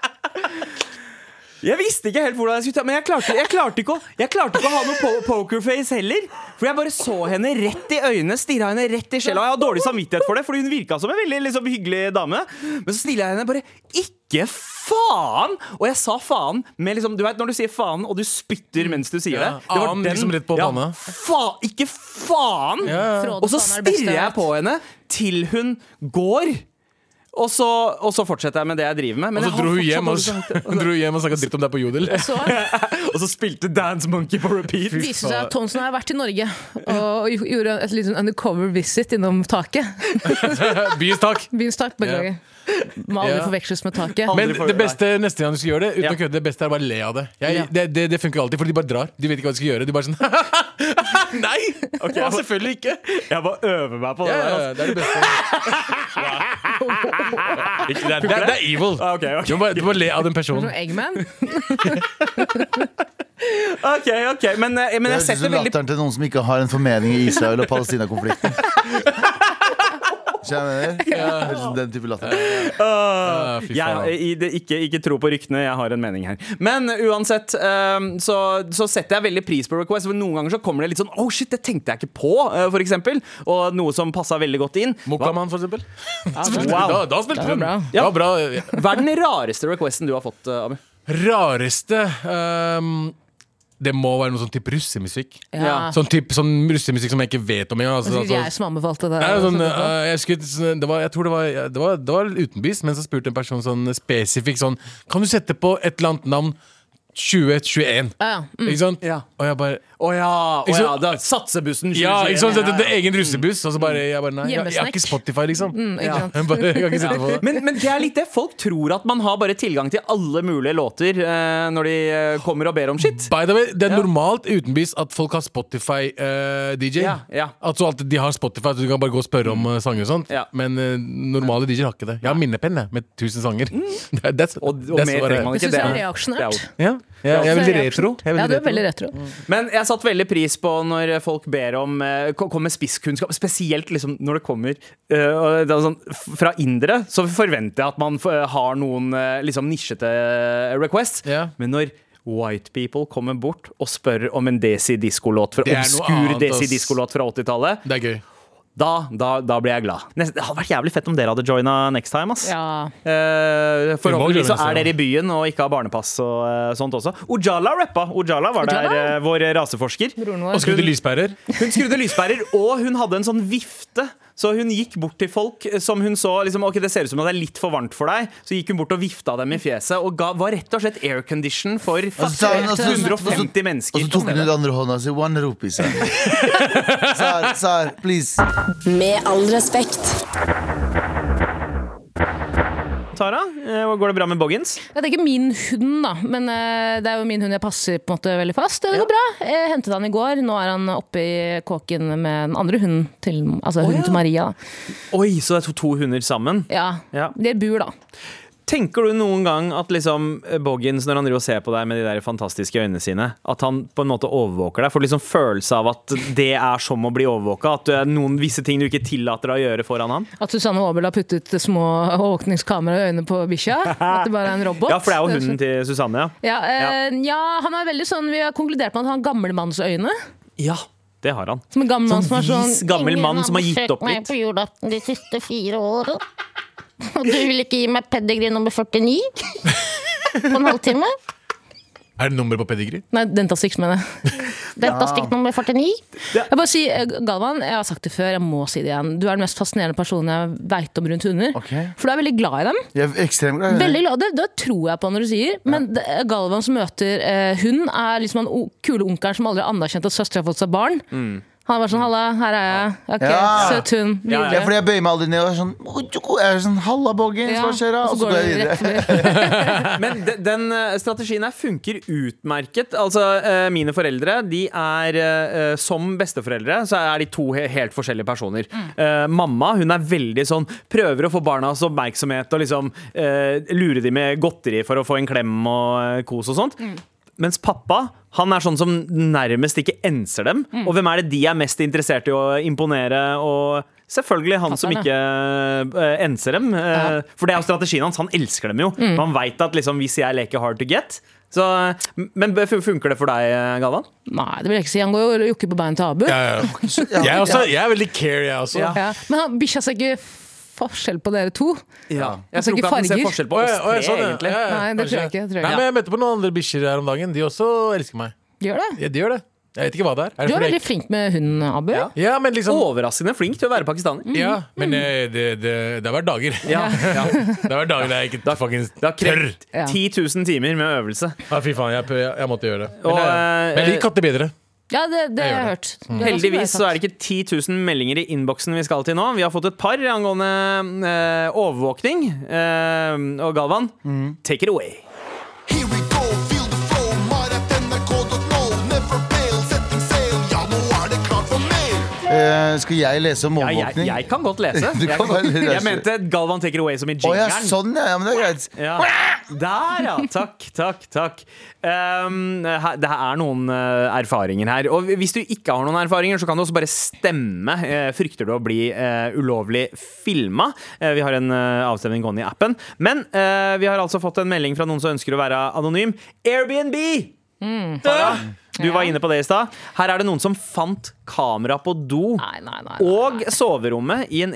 Jeg visste ikke helt hvordan jeg skulle ta Men jeg klarte, jeg klarte, ikke, å, jeg klarte ikke å ha noe po pokerface heller. For jeg bare så henne rett i øynene, stirra henne rett i sjela. Og jeg har dårlig samvittighet for det, fordi hun virka som en veldig liksom, hyggelig dame. Men så stiller jeg henne bare Ikke faen! Og jeg sa faen med liksom Du vet når du sier faen, og du spytter mens du sier det.
Ja,
det
anen liksom rett på panna.
Fa ikke faen!
Fråde
Og så
faen er det beste
stirrer jeg
vet.
på henne til hun går. Og så, og så fortsetter jeg med det jeg driver med. Men
Og så
jeg har
dro hun
fortsatt
hjem og,
dårlig samvittighet.
hun dro hjem og snakka dritt om deg på Jodel.
Så
Og så spilte Dance Monkey på repeat.
Det viser seg at Thomsen har vært i Norge og gjorde et liten undercover visit innom taket.
Byens tak.
Byens tak, beklager. Må aldri
Ja.
forveksles med taket.
Aldri
Men
får-
det beste neste gang du skal gjøre det, uten
Ja.
å kødde, det beste er å bare le av det. Jeg,
Ja.
det, det. Det funker alltid, for de bare drar. De vet ikke hva de skal gjøre. De bare sånn Nei!
Ok, jeg må-
selvfølgelig ikke.
Jeg må øve meg på det
Ja, ja,
der.
ja,
Altså.
det er det beste. Ikke- det, er, det, er, det er evil.
Ah, ok, ok.
Du må, bare, du må le av den
Som
personen.
Eggman.
ok, ok, Men, eh, men jeg
Det høres ut
setter
som
veldig
latteren til noen som ikke har en formening i Israel- og Palestina-konflikten. Skjønner du? Det høres ut som Den type latter.
Ah, fy
jeg,
faen.
i det, ikke, ikke tro på ryktene, jeg har en mening her. Men eh, uansett, eh, så, så setter jeg veldig pris på request. For noen ganger så kommer det litt sånn Oh shit, det tenkte jeg ikke på, eh, for eksempel. Og noe som passa veldig godt inn.
Mokaman, for eksempel.
Wow.
Da, da spilte
Det var
hun.
bra.
Det var bra.
Hva er den rareste requesten du har fått, eh, Abu?
Rareste ehm, Det må være noe sånn type russemusikk.
Ja.
Sånn typ, sånn russemusikk som jeg ikke vet om engang.
Det
Altså,
var
altså,
sikkert jeg som anbefalte det.
Nei, sånn, eh, jeg, skulle, sånn, det var, jeg tror det var, det var, det var utenbys, men så spurte en person sånn spesifikt sånn Kan du sette på et eller annet navn 2021?
Ja, ja.
Ikke sant?
Ah, mm. Ja.
Og jeg bare
Å ja, å
Ikke
ja,
så-
da, satsebussen.
Ja,
2021.
ikke sant? Det, det, det er egen russebuss. Og så bare Jeg bare Nei, jeg, jeg har
Hjemmesnekk.
ikke Spotify, liksom.
Mm,
ikke sant?
Jeg, bare, jeg kan ikke sette på det.
Men, men det er litt det. Folk tror at man har bare tilgang til alle mulige låter eh, når de eh, kommer og ber om shit.
By the way, det er
Ja.
normalt utenbys at folk har Spotify-DJ.
Ja, ja.
Altså at de har Spotify, så du kan bare gå og spørre om eh, sanger og sånt.
Ja.
Men eh, normale DJ-er har ikke det. Jeg har minnepenn jeg, med 1000 sanger. That's,
Mm. Og, og
that's
mer
what I-
trenger man
Det
ikke.
syns jeg er
det er-
reaksjonært.
det er-
Ja, jeg, jeg er veldig retro. Jeg
Ja, du er
veldig
veldig
retro.
retro.
Men jeg satt veldig pris på når folk ber om eh, ko- Kommer spisskunnskap. Spesielt liksom når det kommer eh, og det er sånn, f- fra indere, så forventer jeg at man f- har noen eh, liksom nisjete eh, requests.
Ja.
Men når White people kommer bort og spør om en Desi Disco-låt fra
Det er noe
obskur
annet, ass.
Desi Disco-låt fra 80-tallet.
Det er gøy.
da, da, da blir jeg glad. Nesten, det hadde vært jævlig fett om dere hadde joina next time. Ass.
Ja.
Eh, forhåpentligvis
Vi må joine
så
neste
er
gang.
dere i byen og ikke har barnepass og eh, sånt også. Ojala rappa. Ojala var
Ojala?
der, eh, vår raseforsker.
Broren
Og
vår.
skrudde lyspærer.
Hun skrudde lyspærer, og hun hadde en sånn vifte. Så hun gikk bort til folk eh, som hun så liksom, Ok, det ser ut som at det er litt for varmt for deg. Så gikk hun bort og vifta dem i fjeset og ga, var rett og slett aircondition for
Og så sa hun- og så-
150
Og
mennesker.
så tok hun ut andre hånda si. One rupee, sa hun. Sar, Sar, please.
Med all respekt.
Tara, eh, går det bra med Boggins?
Ja, det er ikke min hund, da, men eh, det er jo min hund jeg passer på en måte veldig fast. Det går bra. Jeg hentet han i går. Nå er han oppe i kåken med den andre hunden til, altså hunden til Maria. Da.
Oi, så det er to, to hunder sammen.
Ja.
Ja.
De er i bur, da.
Tenker du noen gang at liksom Boggins, når han driver og ser på deg med de der fantastiske øynene sine, at han på en måte overvåker deg? Får du liksom følelse av at det er som å bli overvåka? At det er noen visse ting du ikke tillater deg å gjøre foran han?
At Susanne Aabel har puttet små overvåkningskamera i øynene på bikkja? At det bare er en robot?
Ja, for det er jo hunden til Susanne, ja.
Ja, eh, ja, han er veldig sånn Vi har konkludert med at han har gamlemannsøyne.
Ja, det har han.
Som en gammel mann som er sånn
vis gammel mann som har gitt opp litt.
Ingen har besøkt meg på julaften de siste fire årene. Og du vil ikke gi meg pedigree nummer 49 på en halvtime?
Er det nummeret på pedigree?
Nei, dentastix, mener jeg.
Dette stikk nummer 49.
Jeg bare sier, eh, Galvan, jeg har sagt det før, jeg må si det igjen. Du er den mest fascinerende personen jeg veit om rundt hunder.
Ok.
For du er veldig glad i dem.
Jeg er ekstremt glad i
Veldig glad, det, det tror jeg på når du sier. Men det, Galvan som møter eh, hun, er liksom han o- kule onkelen som aldri har anerkjent at søstera har fått seg barn. Han er bare sånn 'halla, her er jeg'. Ok,
Ja.
Søt hund.
Ja,
Ja,
Videre.
fordi jeg bøyer meg aldri ned og er sånn, jeg er sånn Halla, Boggins, hva skjer da? Og så går jeg videre.
videre.
Men de- den eh, strategien her funker utmerket. Altså, eh, mine foreldre, de er eh, eh, som besteforeldre, så er de to he- helt forskjellige personer. Eh, Mamma, hun er veldig sånn Prøver å få barnas oppmerksomhet og liksom eh, lure dem med godteri for å få en klem og eh, kos og sånt. Mens pappa han er sånn som nærmest ikke enser dem.
Mm.
Og hvem er det de er mest interessert i å imponere? Og selvfølgelig han som
Pappaen,
ikke eh, enser dem. eh, For det er jo strategien hans. Han elsker dem jo.
Mm.
Man veit at liksom, hvis jeg leker hard to get så, Men b- funker det for deg, eh, Galvan?
Nei, det vil jeg ikke si. Han går jo og jokker på beina til Abu. Ja.
Jeg, er også, jeg er veldig care, jeg også.
Ja.
Men han- bikkja ser ikke forskjell på dere to.
Jeg
Altså,
tror ikke
ikke
at den ser
farger.
forskjell på
Å,
oss
ja, å,
tre,
ja, sånn, ja.
egentlig.
Ja, ja,
Nei, det tror
kanskje.
jeg ikke, tror jeg.
Nei, men jeg møtte på noen andre bikkjer her om dagen. De også elsker meg.
Gjør det?
Ja, de gjør det. Jeg vet ikke hva det er. er
Du
det
er
fordi
veldig
jeg...
flink med hunden, Abu. Ja.
Ja, men liksom
sånn Overraskende flink til å være pakistaner.
Mm.
Ja, men eh, det, det, det har vært dager.
Ja, ja.
Det har vært dager der jeg ikke fucking
Det har
tør.
krevd
Ja.
10 000 timer med øvelse.
Ja, fy faen, jeg, jeg, jeg måtte gjøre det. Men,
Og,
eh, men jeg liker katter bedre.
det,
Jeg
det har jeg
gjør
hørt. Du har
Heldigvis
også
så
bare
er det ikke 10 000 meldinger i innboksen vi skal til nå. Vi har fått et par angående eh, overvåkning. Eh, og Galvan,
Mm.
take it away.
Here we go, feel the flow, maratnrk.no. Never fail, setting sail, ja, nå er det klart for mer.
Eh, skal jeg lese om
Ja, jeg,
overvåkning?
jeg kan godt lese.
Du
Jeg,
kan bare lese.
jeg mente Galvan take it away som i
Å ja,
jingeren.
sånn ja. ja, men det er greit.
Ja. Der, ja. Takk, takk, takk. Um, her, det er noen eh, erfaringer her. Og hvis du ikke har noen erfaringer, så kan du også bare stemme. Eh, frykter du å bli eh, ulovlig filma? Eh, vi har en eh, avstemning gående i appen. Men eh, vi har altså fått en melding fra noen som ønsker å være anonym. Airbnb! Tara, Du var inne på det i stad. Her er det noen som fant kamera på do
Nei, nei, nei, nei,
og soverommet i en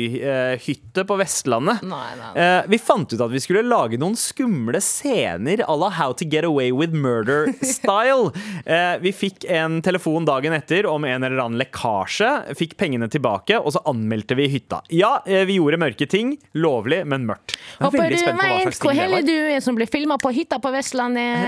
Airbnb-hytte på Vestlandet.
Nei, nei,
Eh, vi fant ut at vi skulle lage noen skumle scener à la How to Get Away With Murder-style. Eh, vi fikk en telefon dagen etter om en eller annen lekkasje, fikk pengene tilbake, og så anmeldte vi hytta. Ja, eh, vi gjorde mørke ting. Lovlig, men mørkt. Jeg er
Håper
veldig
du
spent på hva slags
veit
ting
hvor
det var.
heldig du er som blir filma på hytta på Vestlandet.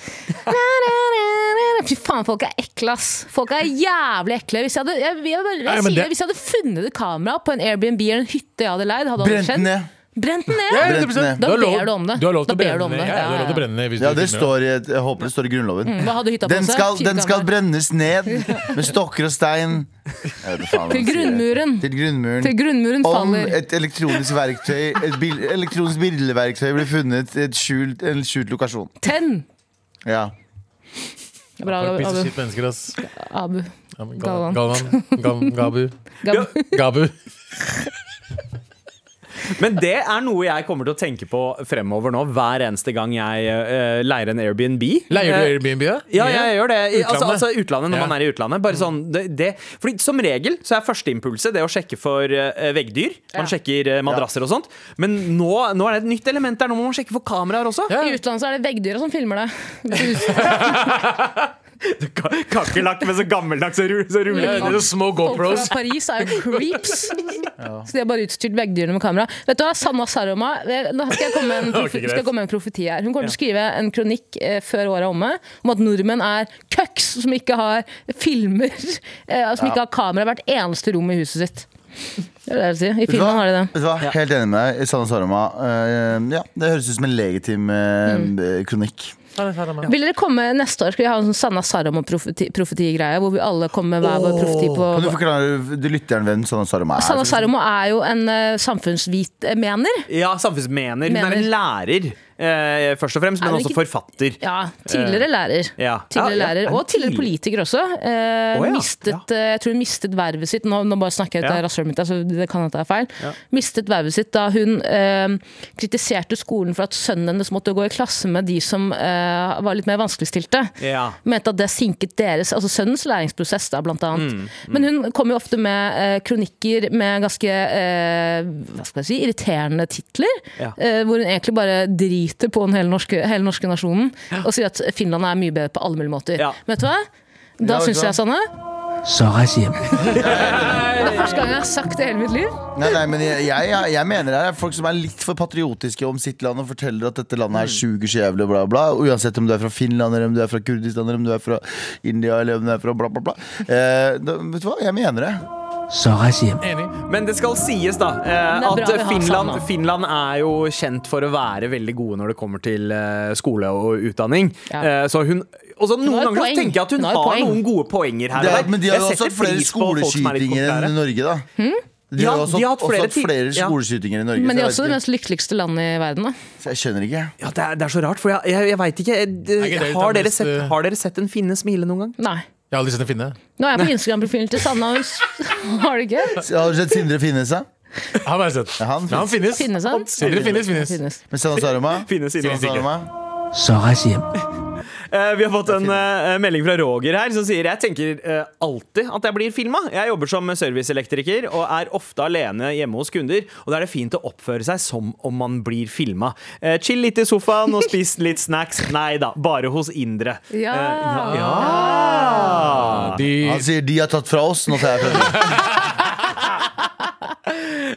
Na, na, na, na, na. Fy faen, folk er ekle, ass. Folk er jævlig ekle. Hvis jeg hadde, jeg, jeg, bare- jeg,
Nei, men
sier
det-
det, hvis jeg hadde funnet et kamera på en Airbnb eller en hytte jeg hadde leid, hadde
Brent
det skjedd.
ned.
Brent den ned!
Brent ned.
Da
har lov-
ber du om det.
Du har lov
Da
til å
ber
brenne
du om
ned.
det.
Ja, du har
Ja,
lov til å
ja.
brenne ned hvis
Ja,
du
det
filmer.
står i et, jeg håper det står i Grunnloven.
Mm. Hva hadde hytta på
Den
seg?
skal,
Fire
den skal
kameraer.
brennes ned med stokker og stein. Jeg vet ikke faen hva
Til
man sier.
grunnmuren.
Til grunnmuren.
Til grunnmuren
Om
faller.
et elektronisk verktøy Et bil, elektronisk bildeverktøy blir funnet i et skjult, en skjult lokasjon.
Ten!
Ja.
Bra,
Folk
Abu.
pisser shit mennesker, ass.
Abu.
Ja, men
Galvan.
Galvan. Galvan. Galvan. Gabu.
Gab-
Gabu.
Men det er noe jeg kommer til å tenke på fremover nå, hver eneste gang jeg eh, leier en Airbnb.
Leier du
Eh,
Airbnb, da?
Ja, jeg gjør det. I, altså,
Utlandet.
altså utlandet, når
Ja.
man er i utlandet. Bare sånn, det, det. Fordi Som regel så er førsteimpulset det å sjekke for eh, veggdyr. Man sjekker eh, madrasser og sånt. Men nå, nå er det et nytt element der. Nå må man sjekke for kameraer også.
Ja.
I utlandet så er det veggdyra som filmer deg.
Ka- Kakerlakk med så gammeldags rull- så
Ja,
rullekniv.
det er Små
Folk
GoPros.
fra Paris er jo creeps. Så de har bare utstyrt veggdyrene med kamera. Vet du hva, Sanna Saroma Nå skal jeg komme med en, profe
Ok, greit.
skal jeg komme med en profeti her. Hun kommer til å skrive en kronikk eh, før året er omme om at nordmenn er cucks som ikke har filmer, eh, som ikke har kamera i hvert eneste rom i huset sitt. Det er det jeg vil si. I
Vet du hva?
filmen har de det.
Vet du hva?
Mm.
Helt enig med deg. Sanne Saroma. Eh, ja, det høres ut som en legitim eh, kronikk.
Vil dere komme neste år? Skal vi ha en sånn Sanna Saramo-profetigreie? Hvor vi alle kommer med hver vår profeti
Kan du
på
forklare du lytteren hvem Sanna Saroma er?
Sanna Saramo er jo en uh, samfunnsvitmener.
Ja, samfunnsmener. Hun er en lærer, eh, først og fremst,
Er
men
hun
også
ikke-
forfatter.
Ja, tidligere lærer.
Eh, ja. Ja,
Tidligere
ja,
lærer,
en
Og tidligere
tidlig-
politiker også. Eh,
Å ja,
mistet, eh, jeg tror hun mistet vervet sitt Nå, nå bare snakker jeg ut av
Ja.
rasshølet mitt, altså, det kan hende det er feil. Mistet vervet sitt da hun eh, kritiserte skolen for at sønnen hennes måtte gå i klasse med de som eh, var litt mer vanskeligstilte.
Ja.
Mente at det sinket deres, altså sønnens læringsprosess, da, blant annet. Men hun kom jo ofte med eh, kronikker med ganske eh, hva skal jeg si, irriterende titler.
Ja.
Eh, hvor hun egentlig bare driter på den hele norske, hele norske nasjonen og sier at Finland er mye bedre på alle mulige måter.
Ja.
Men vet du hva? Da
Ja, vet du
syns jeg, Sanne
Så reis hjem.
Det er første gang jeg har sagt det i hele mitt liv.
Nei, nei, men jeg, jeg, jeg mener det er folk som er litt for patriotiske om sitt land og forteller at dette landet
Mm.
her suger så jævlig, bla, bla. Uansett om du er fra Finland, eller om du er fra Kurdistan, eller om du er fra India, eller om du er fra bla, bla, bla. Eh, da, vet du hva, jeg mener det.
Så reis hjem.
Enig.
Men det skal sies, da, eh,
Det er bra vi
at
har
Finland,
Sanna.
Finland er jo kjent for å være veldig gode når det kommer til eh, skole og utdanning.
Ja.
Eh, Så hun og så Noen
har jo
ganger så
poeng.
tenker jeg at hun
Hun har
har
jo poeng.
noen gode poenger her
det
og
er,
der.
men de har
Jeg
jo også
setter
hatt flere
pris på folk som er litt
skoleskytinger enn
kontrære.
i Norge, da. De
Ja,
har jo også,
de har hatt
også
flere
hatt flere
ti- ja.
skoleskytinger i Norge.
Men
så
de er
jeg
også
vet
det mest lykkeligste landet i verden. Da.
ikke- så jeg skjønner ikke.
Ja, det er, det er så rart, for jeg, jeg, jeg veit ikke. Jeg,
ikke det litt av
har, dere
mest,
sett,
eh,
har dere sett en finne smile noen gang?
Nei.
Jeg har aldri sett en finne.
Nå er jeg på Instagram-profilen til Sanna. Hun s- Har det gøy?
Har du sett Sindre Finnes, da?
Han har jeg sett.
Ja, han finnes.
Men han finnes.
Finnes han?
Sindre finnes, finnes.
Finnes.
Med Sanna Saroma?
Finne sine.
Sanna Saroma?
Så reis hjem.
Eh, vi har fått en eh, melding fra Roger her som sier Jeg tenker eh, alltid at jeg blir filma. Jeg jobber som serviceelektriker og er ofte alene hjemme hos kunder. Og da er det fint å oppføre seg som om man blir filma. Eh, chill litt i sofaen og spis litt snacks. Nei da, bare hos indre.
Ja.
Eh, ja.
De,
Han sier 'de har tatt fra oss', nå tar jeg fra dere.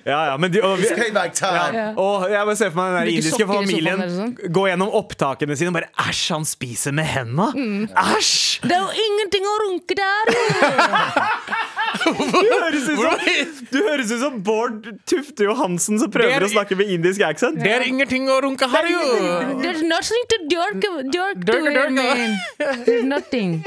ja, ja, men de, og, vi,
It's payback time.
Ja.
Åh, jeg bare ser for meg den der
Bruker
indiske
sokker i sofaen
familien
eller sånn.
gå gjennom opptakene sine og bare Æsj, han spiser med henda!
Mm.
Æsj!
Det er jo ingenting å runke der!
Du høres ut som, du høres ut som Bård Tufte Johansen som prøver
Det er-
å snakke med indisk accent.
det er ingenting å runke her, jo!
There's nothing to dork, dork to
Dork, dork,
it, man. There's nothing.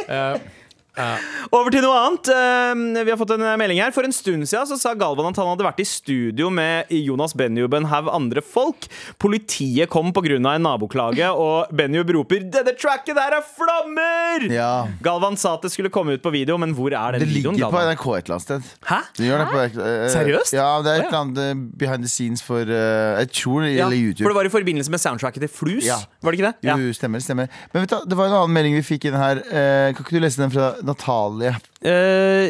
Over til noe annet. Eh, Vi har fått en melding her. For en stund siden så sa Galvan at han hadde vært i studio med Jonas Benjub og en haug andre folk. Politiet kom pga. en naboklage, og Benjub roper 'Denne tracket der er flammer!'
Ja.
Galvan sa at det skulle komme ut på video, men hvor er den
Det
videoen?
ligger på
Galvan?
NRK et eller annet sted.
Hæ?
Du gjør det på, eh,
Seriøst?
Ja, det er
Å,
et
ja.
eller annet eh, behind the scenes for eh, Jeg tror det
Ja,
gjelder
for
YouTube.
det var i forbindelse med soundtracket til Flus,
Ja.
var det ikke det? Ja.
Jo, stemmer, stemmer. Men vet du, det var en annen melding vi fikk inn her. Eh, kan ikke du lese den fra Natalie?
Eh,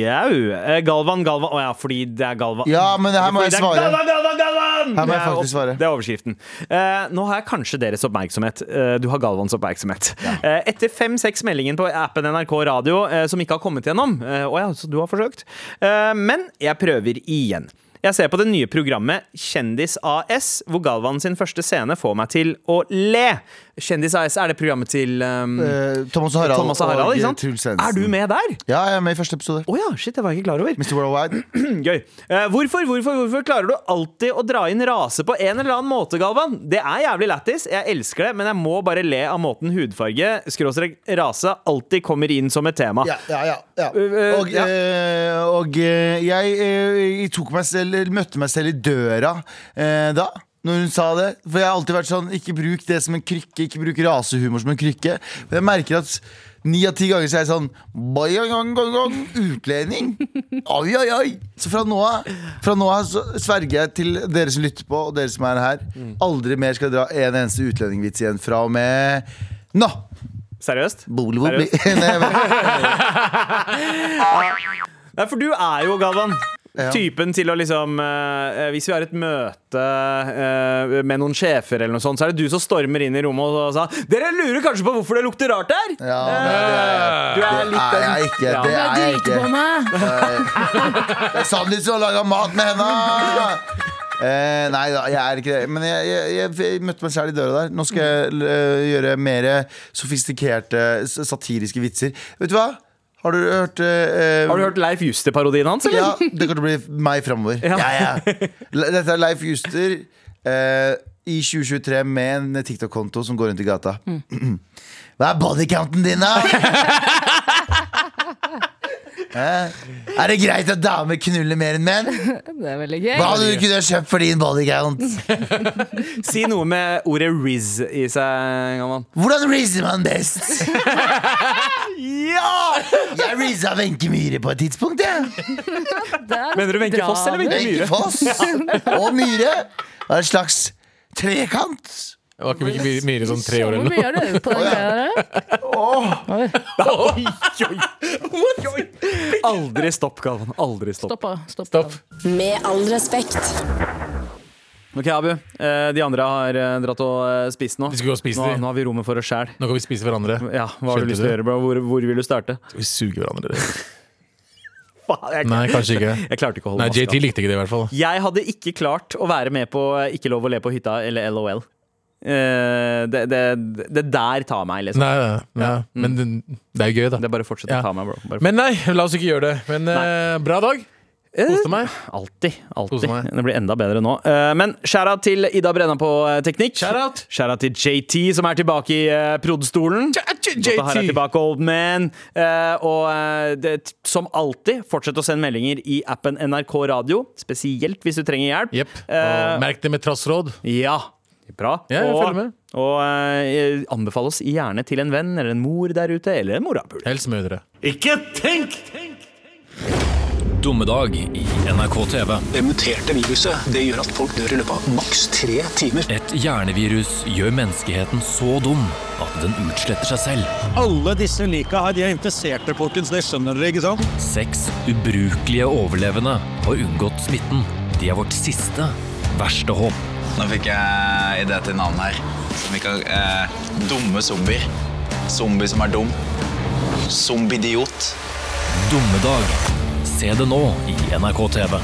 jau. Eh, Galvan, Galvan Å ja, fordi det er Galvan.
Ja, men det her må
Fordi
jeg
det er
svare.
Galvan, Galvan, Galvan!
Her må jeg
Det er
faktisk
opp-
svare.
Det er overskriften. Eh, nå har jeg kanskje deres oppmerksomhet. Eh, du har Galvans oppmerksomhet. Eh, etter fem-seks meldingen på appen NRK Radio eh, som ikke har kommet gjennom eh, Å ja, så du har forsøkt. Eh, men jeg prøver igjen. Jeg ser på det nye programmet Kjendis AS, hvor Galvan sin første scene får meg til å le. Kjendis AS, er det programmet til um,
Eh, Thomas og Harald,
Thomas og Harald, ikke sant?
eh, Truls Svendsen.
Er du med der?
Ja, jeg er med i første episode.
Å ja, shit, det var jeg ikke klar over.
Mr. Worldwide.
Gøy. Eh, hvorfor, hvorfor, hvorfor klarer du alltid å dra inn rase på en eller annen måte, Galvan? Det er jævlig lættis, jeg elsker det, men jeg må bare le av måten hudfarge, skråstrek rase, alltid kommer inn som et tema.
Ja, ja, ja, ja.
Eh,
Og,
ja.
eh, og eh, jeg, eh, jeg tok meg selv, eller møtte meg selv i døra eh, da. Når hun sa det For jeg har alltid vært sånn Ikke bruk det som en krykke. Ikke bruk rasehumor som en krykke. Men jeg merker at ni av ti ganger så er jeg sånn «Bai, oi, oi, oi, oi, Utlending! Oi, oi, oi! Så fra nå av Fra nå av så sverger jeg til dere som lytter på, og dere som er her, aldri mer skal jeg dra en eneste utlendingvits igjen fra og med nå!
Seriøst?
Boli, boli. Nei, men-
Nei, for du er jo, Galvan.
Ja.
Typen til å liksom eh, Hvis vi har et møte eh, med noen sjefer, eller noe sånt, så er det du som stormer inn i rommet og, og sa Dere lurer kanskje på hvorfor det lukter rart her?
Ja, nei, det er jeg.
Du er
Det
litt
er
den
jeg ikke.
Ja.
Det
Jeg
er jeg
driter på
ikke.
meg.
Det er Sandeep som har laga mat med henda! Eh, nei da, jeg er ikke det. Men jeg, jeg, jeg, jeg møtte meg selv i døra der. Nå skal jeg eh, gjøre mer sofistikerte, s- satiriske vitser. Vet du hva? Har du hørt eh,
Har du hørt Leif Juster-parodien hans, eller?
Ja, det kommer til å bli meg framover. Ja. Ja, Dette er Leif Juster. Eh, i 2023 med en TikTok-konto som går rundt i gata. Hva er bodycounten din, da? Hæ? er det greit at damer knuller mer enn menn?
Det er veldig gøy.
Hva hadde du kunne kjøpt for din bodycount?
Si noe med ordet Riz i seg, gammel.
Hvordan reaser man best? ja! Jeg reasa Wenche Myhre på et tidspunkt, jeg.
Mener du Wenche
Bra.
Foss eller Wenche
Wenche
Myhre?
Foss og Myhre. Det var en slags trekant.
Det var ikke mye mye sånn tre år
Hvor
eller
mye
noe.
er det på den greia der? Oi,
Aldri stopp, Galvan. Aldri stopp.
Stopp, da. stopp.
Stopp.
Med all respekt.
Ok, Abu. eh, De andre har eh, dratt og eh, spist nå.
Vi skal gå og spise
nå,
de.
nå har vi rommet for oss sjæl.
Nå kan vi spise hverandre.
Ja, hva har
Skjønte
du lyst til å
du?
gjøre, bro? Hvor, hvor vil du starte?
Skal vi suge hverandre?
Faen, jeg,
Nei, kanskje ikke.
jeg klarte ikke å holde
Nei, JT
maska.
likte ikke det i hvert fall.
Jeg hadde ikke klart å være med på eh, Ikke lov å le på hytta eller LOL. Eh, det, det, det der tar meg, liksom.
Nei, nei, nei. Men det, det er jo gøy, da.
Det er bare å fortsette
Ja.
å ta meg, bro. Bare
Men nei, la oss ikke gjøre det. Men eh, bra dag. Koste meg.
Alltid.
Koser
Alltid.
meg.
Det blir enda bedre nå. Eh, Men shout-out til Ida Brenna på eh, teknikk.
Shout-out.
Shout-out til JT, som er tilbake i eh, prod-stolen. Godt å ha deg
JT.
tilbake, old man. Eh, Og eh, det, som alltid, fortsett å sende meldinger i appen NRK Radio. Spesielt hvis du trenger hjelp.
Jepp.
Eh,
Og Merk det med trassråd.
Ja. Bra.
Ja, jeg følger
og
med.
og eh, anbefal oss gjerne til en venn eller en mor der ute, eller en morapule.
Hils mødre.
Dommedag i NRK TV.
Det muterte viruset det gjør at folk dør i løpet av maks tre timer.
Et hjernevirus gjør menneskeheten så dum at den utsletter seg selv.
Alle disse lika her, de er infiserte, folkens. Det skjønner dere, ikke sant?
Seks ubrukelige overlevende har unngått smitten. De er vårt siste verste håp.
Nå fikk jeg idé til navn her. Som vi kan eh, Dumme zombier. Zombie som er dum. Zombidiot.
Dommedag. Se det nå i NRK TV.